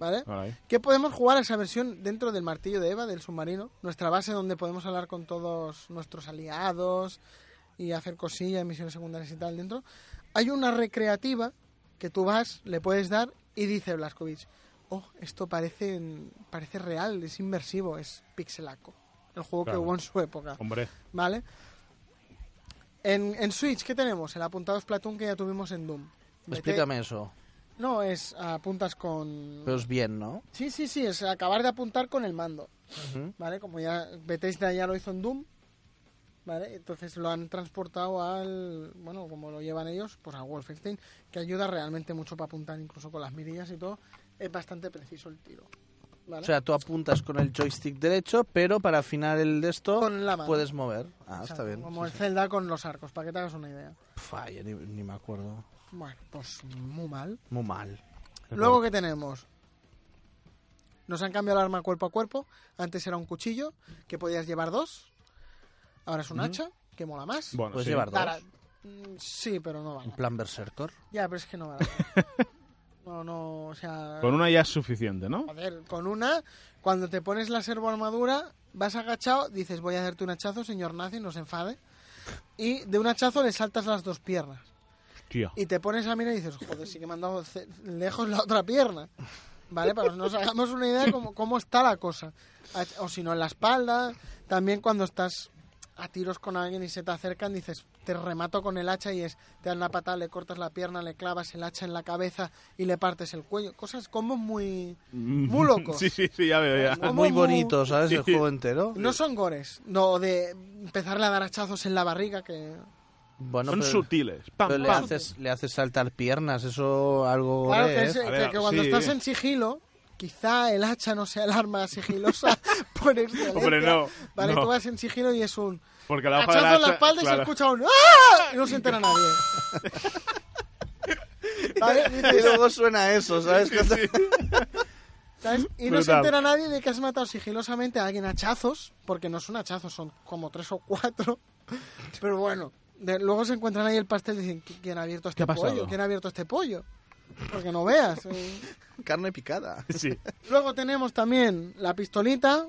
Speaker 5: ¿Vale?
Speaker 2: ahora ahí.
Speaker 5: Que podemos jugar a esa versión dentro del martillo de Eva, del submarino. Nuestra base donde podemos hablar con todos nuestros aliados y hacer cosillas, misiones secundarias y tal dentro. Hay una recreativa que tú vas, le puedes dar y dice Blaskovich, oh, esto parece, parece real, es inversivo, es pixelaco. El juego
Speaker 2: Claro.
Speaker 5: que hubo en su época.
Speaker 2: Hombre,
Speaker 5: ¿Vale? En, en Switch, ¿qué tenemos? El apuntado Splatoon que ya tuvimos en Doom. Vete-
Speaker 4: Explícame eso.
Speaker 5: No, es apuntas con...
Speaker 4: Pero es bien, ¿no?
Speaker 5: Sí, sí, sí, es acabar de apuntar con el mando,
Speaker 4: Ujú.
Speaker 5: ¿vale? Como ya Bethesda ya lo hizo en Doom, ¿vale? Entonces lo han transportado al, bueno, como lo llevan ellos, pues a Wolfenstein, que ayuda realmente mucho para apuntar incluso con las mirillas y todo, es bastante preciso el tiro, ¿vale?
Speaker 4: O sea, tú apuntas con el joystick derecho, pero para afinar el de esto
Speaker 5: Con la mano.
Speaker 4: puedes mover. Ah,
Speaker 5: O sea,
Speaker 4: está bien.
Speaker 5: Como
Speaker 4: Sí,
Speaker 5: el Zelda con los arcos, para que te hagas una idea.
Speaker 4: sí. Pf, ay, yo ni, ni me acuerdo.
Speaker 5: Bueno, pues muy mal.
Speaker 4: Muy mal.
Speaker 5: Luego, ¿qué tenemos? Nos han cambiado el arma cuerpo a cuerpo. Antes era un cuchillo, que podías llevar dos. Ahora es un hacha, que mola más.
Speaker 2: bueno,
Speaker 4: Puedes
Speaker 2: sí.
Speaker 4: llevar dos.
Speaker 5: Tara- Mm, Sí, pero no
Speaker 4: En
Speaker 5: vale.
Speaker 4: plan berserker.
Speaker 5: Ya, pero es que no vale. No, no, o sea...
Speaker 2: Con una ya es suficiente, ¿no?
Speaker 5: Joder, con una, cuando te pones la servoarmadura, vas agachado, dices, voy a hacerte un hachazo, señor nazi, no se enfade. Y de un hachazo le saltas las dos piernas.
Speaker 2: Tío.
Speaker 5: Y te pones a mirar y dices, joder, sí que me han dado ce- lejos la otra pierna. ¿Vale? Para que nos hagamos una idea de cómo, cómo está la cosa. Ach- O si no, en la espalda. También cuando estás a tiros con alguien y se te acercan, dices, te remato con el hacha y es, te dan la patada, le cortas la pierna, le clavas el hacha en la cabeza y le partes el cuello. Cosas como muy... Muy locos.
Speaker 2: Mm, Sí, sí, sí, ya veo, ya.
Speaker 5: Como
Speaker 4: Muy bonito, ¿sabes? El
Speaker 2: Sí.
Speaker 4: juego entero.
Speaker 5: No son gores. No, de empezarle a dar hachazos en la barriga que...
Speaker 4: Bueno,
Speaker 2: Son
Speaker 4: pero,
Speaker 2: sutiles. Pam,
Speaker 4: pero le,
Speaker 2: pam.
Speaker 4: haces, le haces saltar piernas, eso algo...
Speaker 5: Claro
Speaker 4: gore ¿eh?
Speaker 5: que,
Speaker 4: es.
Speaker 5: es- que-
Speaker 2: ver,
Speaker 5: que cuando
Speaker 2: sí.
Speaker 5: estás en sigilo, quizá el hacha no sea el arma sigilosa por excelencia.
Speaker 2: Hombre, no,
Speaker 5: Vale,
Speaker 2: no.
Speaker 5: tú vas en sigilo y es un
Speaker 2: Porque la hoja de
Speaker 5: hachazo en la
Speaker 2: hacha-
Speaker 5: espalda y se
Speaker 2: claro.
Speaker 5: escucha un ¡Ah! Y no se entera nadie. ¿Vale?
Speaker 4: Y
Speaker 5: Dices,
Speaker 4: luego suena eso, ¿sabes?
Speaker 2: Sí, sí.
Speaker 5: ¿sabes? Y no se
Speaker 2: Brutal.
Speaker 5: entera nadie de que has matado sigilosamente a alguien a hachazos, porque no son hachazos, son como tres o cuatro. Pero bueno, de- luego se encuentran ahí el pastel y dicen, ¿quién ha abierto
Speaker 2: ¿Qué
Speaker 5: este
Speaker 2: ha pasado?
Speaker 5: pollo? ¿Quién ha abierto este pollo? Porque no veas. eh.
Speaker 4: Carne picada.
Speaker 2: Sí.
Speaker 5: Luego tenemos también la pistolita.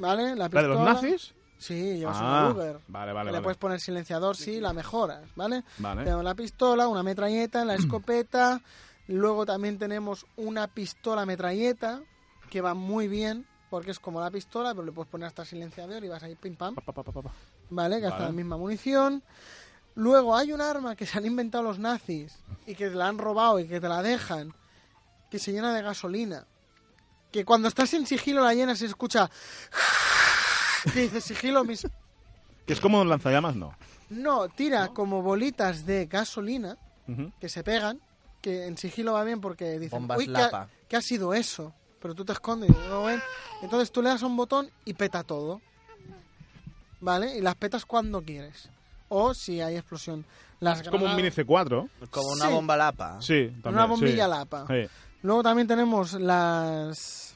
Speaker 5: ¿Vale? La
Speaker 2: ¿La de
Speaker 5: pistola.
Speaker 2: los nazis?
Speaker 5: Sí, llevas
Speaker 2: Ah,
Speaker 5: una Luger.
Speaker 2: vale, vale,
Speaker 5: Que
Speaker 2: vale.
Speaker 5: Le puedes poner silenciador, sí, la mejoras, ¿vale?
Speaker 2: Vale.
Speaker 5: Tenemos la pistola, una metralleta, la escopeta. Luego también tenemos una pistola metralleta que va muy bien, porque es como la pistola, pero le puedes poner hasta silenciador y vas ahí pim pam.
Speaker 2: Pa, pa, pa, pa, pa, pa.
Speaker 5: Vale, gasta
Speaker 2: Vale.
Speaker 5: la misma munición. Luego hay un arma que se han inventado los nazis y que te la han robado y que te la dejan, que se llena de gasolina. Que cuando estás en sigilo la llena se escucha. Que dices sigilo, mis.
Speaker 2: Que es como un lanzallamas, no.
Speaker 5: No, tira como bolitas de gasolina
Speaker 2: Ujú.
Speaker 5: que se pegan, que en sigilo va bien porque dicen,
Speaker 4: Bombas
Speaker 5: uy, ¿qué ha,
Speaker 4: lapa.
Speaker 5: qué ha sido eso? Pero tú te escondes y no lo ven. Entonces tú le das a un botón y peta todo. ¿Vale? Y las petas cuando quieres. O si hay explosión. Las
Speaker 2: Es como un
Speaker 5: granadas-
Speaker 2: mini C4.
Speaker 4: Como una
Speaker 5: Sí.
Speaker 4: bomba lapa.
Speaker 2: Sí, también.
Speaker 5: una bombilla
Speaker 2: sí.
Speaker 5: lapa.
Speaker 2: Sí.
Speaker 5: Luego también tenemos las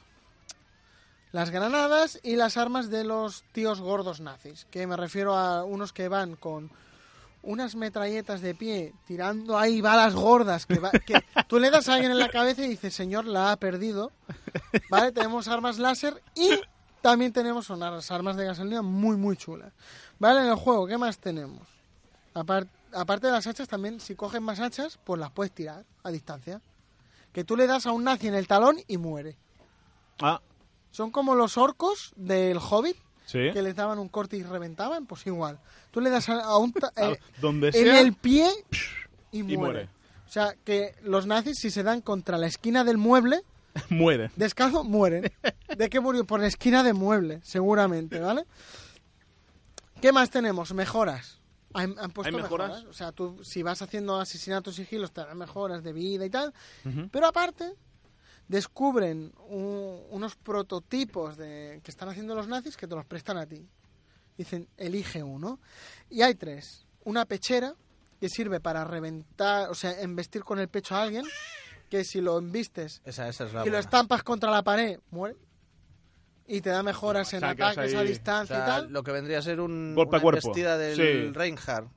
Speaker 5: las granadas y las armas de los tíos gordos nazis, que me refiero a unos que van con unas metralletas de pie tirando ahí balas gordas que, va- que tú le das a alguien en la cabeza y dices, "Señor, la ha perdido." Vale, tenemos armas láser y también tenemos unas armas de gasolina muy muy chulas. Vale, en el juego, ¿qué más tenemos? Apar- aparte de las hachas también, si coges más hachas, pues las puedes tirar a distancia que tú le das a un nazi en el talón y muere.
Speaker 2: Ah,
Speaker 5: Son como los orcos del Hobbit
Speaker 2: sí.
Speaker 5: que les daban un corte y reventaban, pues igual. Tú le das a, a un ta-
Speaker 2: Ah,
Speaker 5: eh,
Speaker 2: Donde
Speaker 5: en
Speaker 2: sea.
Speaker 5: el pie y muere.
Speaker 2: muere.
Speaker 5: O sea, que los nazis si se dan contra la esquina del mueble,
Speaker 2: Muere.
Speaker 5: descalzo mueren. ¿De qué murió? Por la esquina de mueble, seguramente, ¿vale? ¿Qué más tenemos? Mejoras. Han, han puesto
Speaker 2: ¿Hay mejoras?
Speaker 5: mejoras? O sea, tú si vas haciendo asesinatos sigilos te dan mejoras de vida y tal. Pero aparte, descubren u- unos prototipos de, que están haciendo los nazis que te los prestan a ti. Dicen, elige uno. Y hay tres. Una pechera que sirve para reventar, o sea, embestir con el pecho a alguien, que si lo embistes
Speaker 4: Esa, esa es la
Speaker 5: y lo
Speaker 4: buena.
Speaker 5: estampas contra la pared, muere. Y te da mejoras en
Speaker 2: Sacas
Speaker 5: ataques
Speaker 2: ahí-
Speaker 5: a
Speaker 4: O
Speaker 5: distancia
Speaker 4: sea,
Speaker 5: y tal.
Speaker 4: lo que vendría a ser un,
Speaker 2: Golpe a
Speaker 4: una
Speaker 2: cuerpo.
Speaker 4: embestida del
Speaker 2: Sí.
Speaker 4: Reinhardt,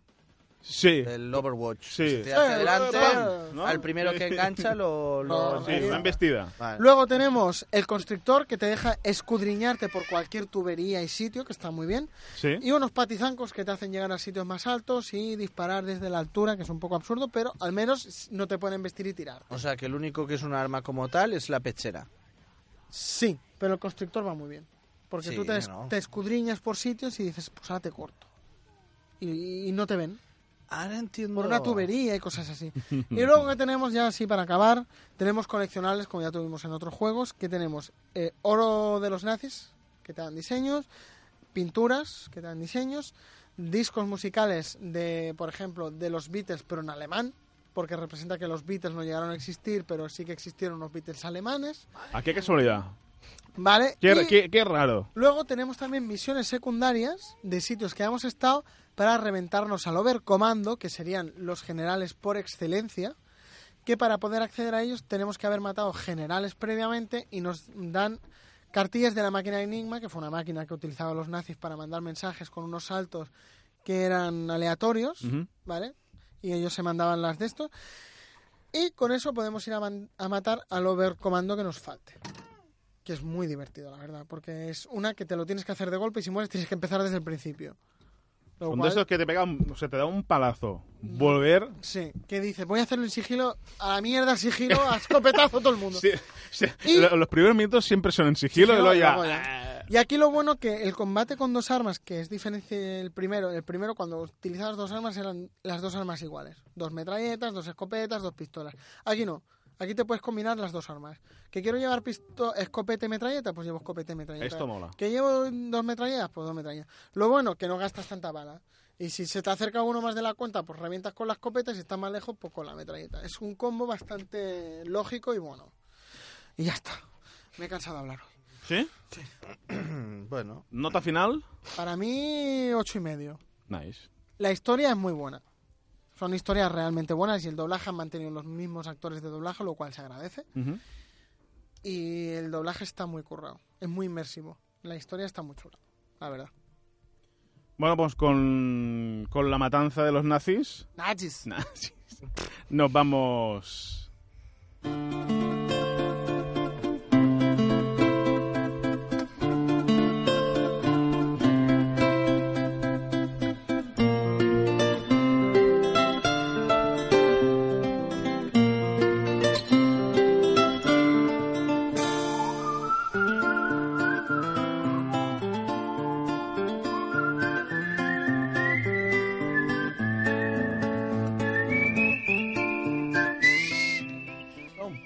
Speaker 2: Sí.
Speaker 4: del Overwatch.
Speaker 2: Sí.
Speaker 4: Se te hace
Speaker 5: Sí,
Speaker 4: delante,
Speaker 5: ¡pam!
Speaker 2: ¿no?
Speaker 4: al primero que engancha lo... lo-
Speaker 5: No,
Speaker 2: Sí,
Speaker 5: Ahí.
Speaker 2: una embestida.
Speaker 4: Vale.
Speaker 5: Luego tenemos el constrictor que te deja escudriñarte por cualquier tubería y sitio, que está muy bien.
Speaker 2: Sí.
Speaker 5: Y unos patizancos que te hacen llegar a sitios más altos y disparar desde la altura, que es un poco absurdo, pero al menos no te pueden vestir y tirar.
Speaker 4: O sea, que el único que es un arma como tal es la pechera.
Speaker 5: Sí, pero el constrictor va muy bien. Porque
Speaker 4: Sí,
Speaker 5: tú te, es-
Speaker 4: ¿no?
Speaker 5: te escudriñas por sitios y dices, pues ahora te corto. Y- y no te ven.
Speaker 4: Ahora entiendo...
Speaker 5: por una tubería y cosas así. y luego que tenemos ya así para acabar, tenemos coleccionables como ya tuvimos en otros juegos, que tenemos eh, oro de los nazis, que te dan diseños, pinturas, que te dan diseños, discos musicales de, por ejemplo, de los Beatles pero en alemán, porque representa que los Beatles no llegaron a existir, pero sí que existieron los Beatles alemanes,
Speaker 2: ¿A qué casualidad?
Speaker 5: ¿vale?
Speaker 2: Qué,
Speaker 5: Y-
Speaker 2: qué- qué raro.
Speaker 5: Luego tenemos también misiones secundarias de sitios que hemos estado para reventarnos al overcomando, que serían los generales por excelencia, que para poder acceder a ellos tenemos que haber matado generales previamente y nos dan cartillas de la máquina Enigma, que fue una máquina que utilizaban los nazis para mandar mensajes con unos saltos que eran aleatorios,
Speaker 2: Ujú.
Speaker 5: ¿vale? Y ellos se mandaban las de estos. Y con eso podemos ir a, man- a matar al overcomando que nos falte. Que es muy divertido, la verdad, porque es una que te lo tienes que hacer de golpe y si mueres tienes que empezar desde el principio. Lo
Speaker 2: Cuando
Speaker 5: cual-
Speaker 2: esos que te pega, un- o sea, te da un palazo. Volver.
Speaker 5: Sí, que dice, voy a hacerlo en sigilo, a la mierda el sigilo, a escopetazo todo el mundo.
Speaker 2: Sí, sí.
Speaker 5: Y-
Speaker 2: Lo- Los primeros minutos siempre son en sigilo y
Speaker 5: Sigilo
Speaker 2: luego
Speaker 5: y
Speaker 2: ya-
Speaker 5: luego ya. Y aquí lo bueno que el combate con dos armas, que es diferente del primero, el primero cuando utilizabas dos armas eran las dos armas iguales, dos metralletas, dos escopetas, dos pistolas. Aquí no, aquí te puedes combinar las dos armas. Que quiero llevar pisto escopeta y metralleta, pues llevo escopeta y metralleta.
Speaker 2: Esto mola.
Speaker 5: Que llevo dos metralletas, pues dos metralletas. Lo bueno que no gastas tanta bala. Y si se te acerca uno más de la cuenta, pues revientas con la escopeta y si está más lejos, pues con la metralleta. Es un combo bastante lógico y bueno. Y ya está. Me he cansado de hablar hoy.
Speaker 2: ¿Sí?
Speaker 4: Mm, Bueno,
Speaker 2: ¿Nota final?
Speaker 5: Para mí, ocho y medio.
Speaker 2: Nice.
Speaker 5: La historia es muy buena. Son historias realmente buenas y el doblaje han mantenido los mismos actores de doblaje, lo cual se agradece.
Speaker 2: Ujú.
Speaker 5: Y el doblaje está muy currado, es muy inmersivo. La historia está muy chula, la verdad.
Speaker 2: Bueno, pues con, con la matanza de los nazis.
Speaker 5: Nazis.
Speaker 2: Nazis. Nos vamos.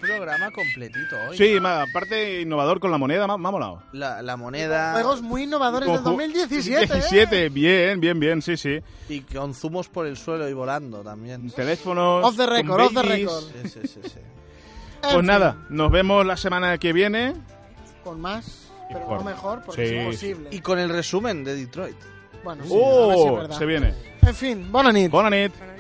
Speaker 4: programa completito hoy.
Speaker 2: Sí, ma- aparte innovador con la moneda, me ha- me ha molado.
Speaker 4: La, la moneda
Speaker 5: Juegos muy innovadores del
Speaker 2: Ojo.
Speaker 5: 2017. ¿eh?
Speaker 2: 17, bien, bien, bien, sí, sí.
Speaker 4: y con zumos por el suelo y volando también.
Speaker 2: Teléfonos.
Speaker 5: Off the
Speaker 2: con
Speaker 5: record, off the
Speaker 2: bakis.
Speaker 5: record.
Speaker 4: Sí, sí, sí, sí.
Speaker 5: En
Speaker 2: Pues
Speaker 5: fin,
Speaker 2: nada, nos vemos la semana que viene.
Speaker 5: Con más, pero
Speaker 2: Mejor.
Speaker 5: no mejor, porque
Speaker 2: Sí,
Speaker 5: es imposible.
Speaker 4: Y con el resumen de Detroit.
Speaker 5: Bueno, sí, a ver si es
Speaker 2: ¡Oh!
Speaker 5: verdad.
Speaker 2: se viene.
Speaker 5: En fin, bona nit.
Speaker 2: Bona nit.
Speaker 3: Bueno,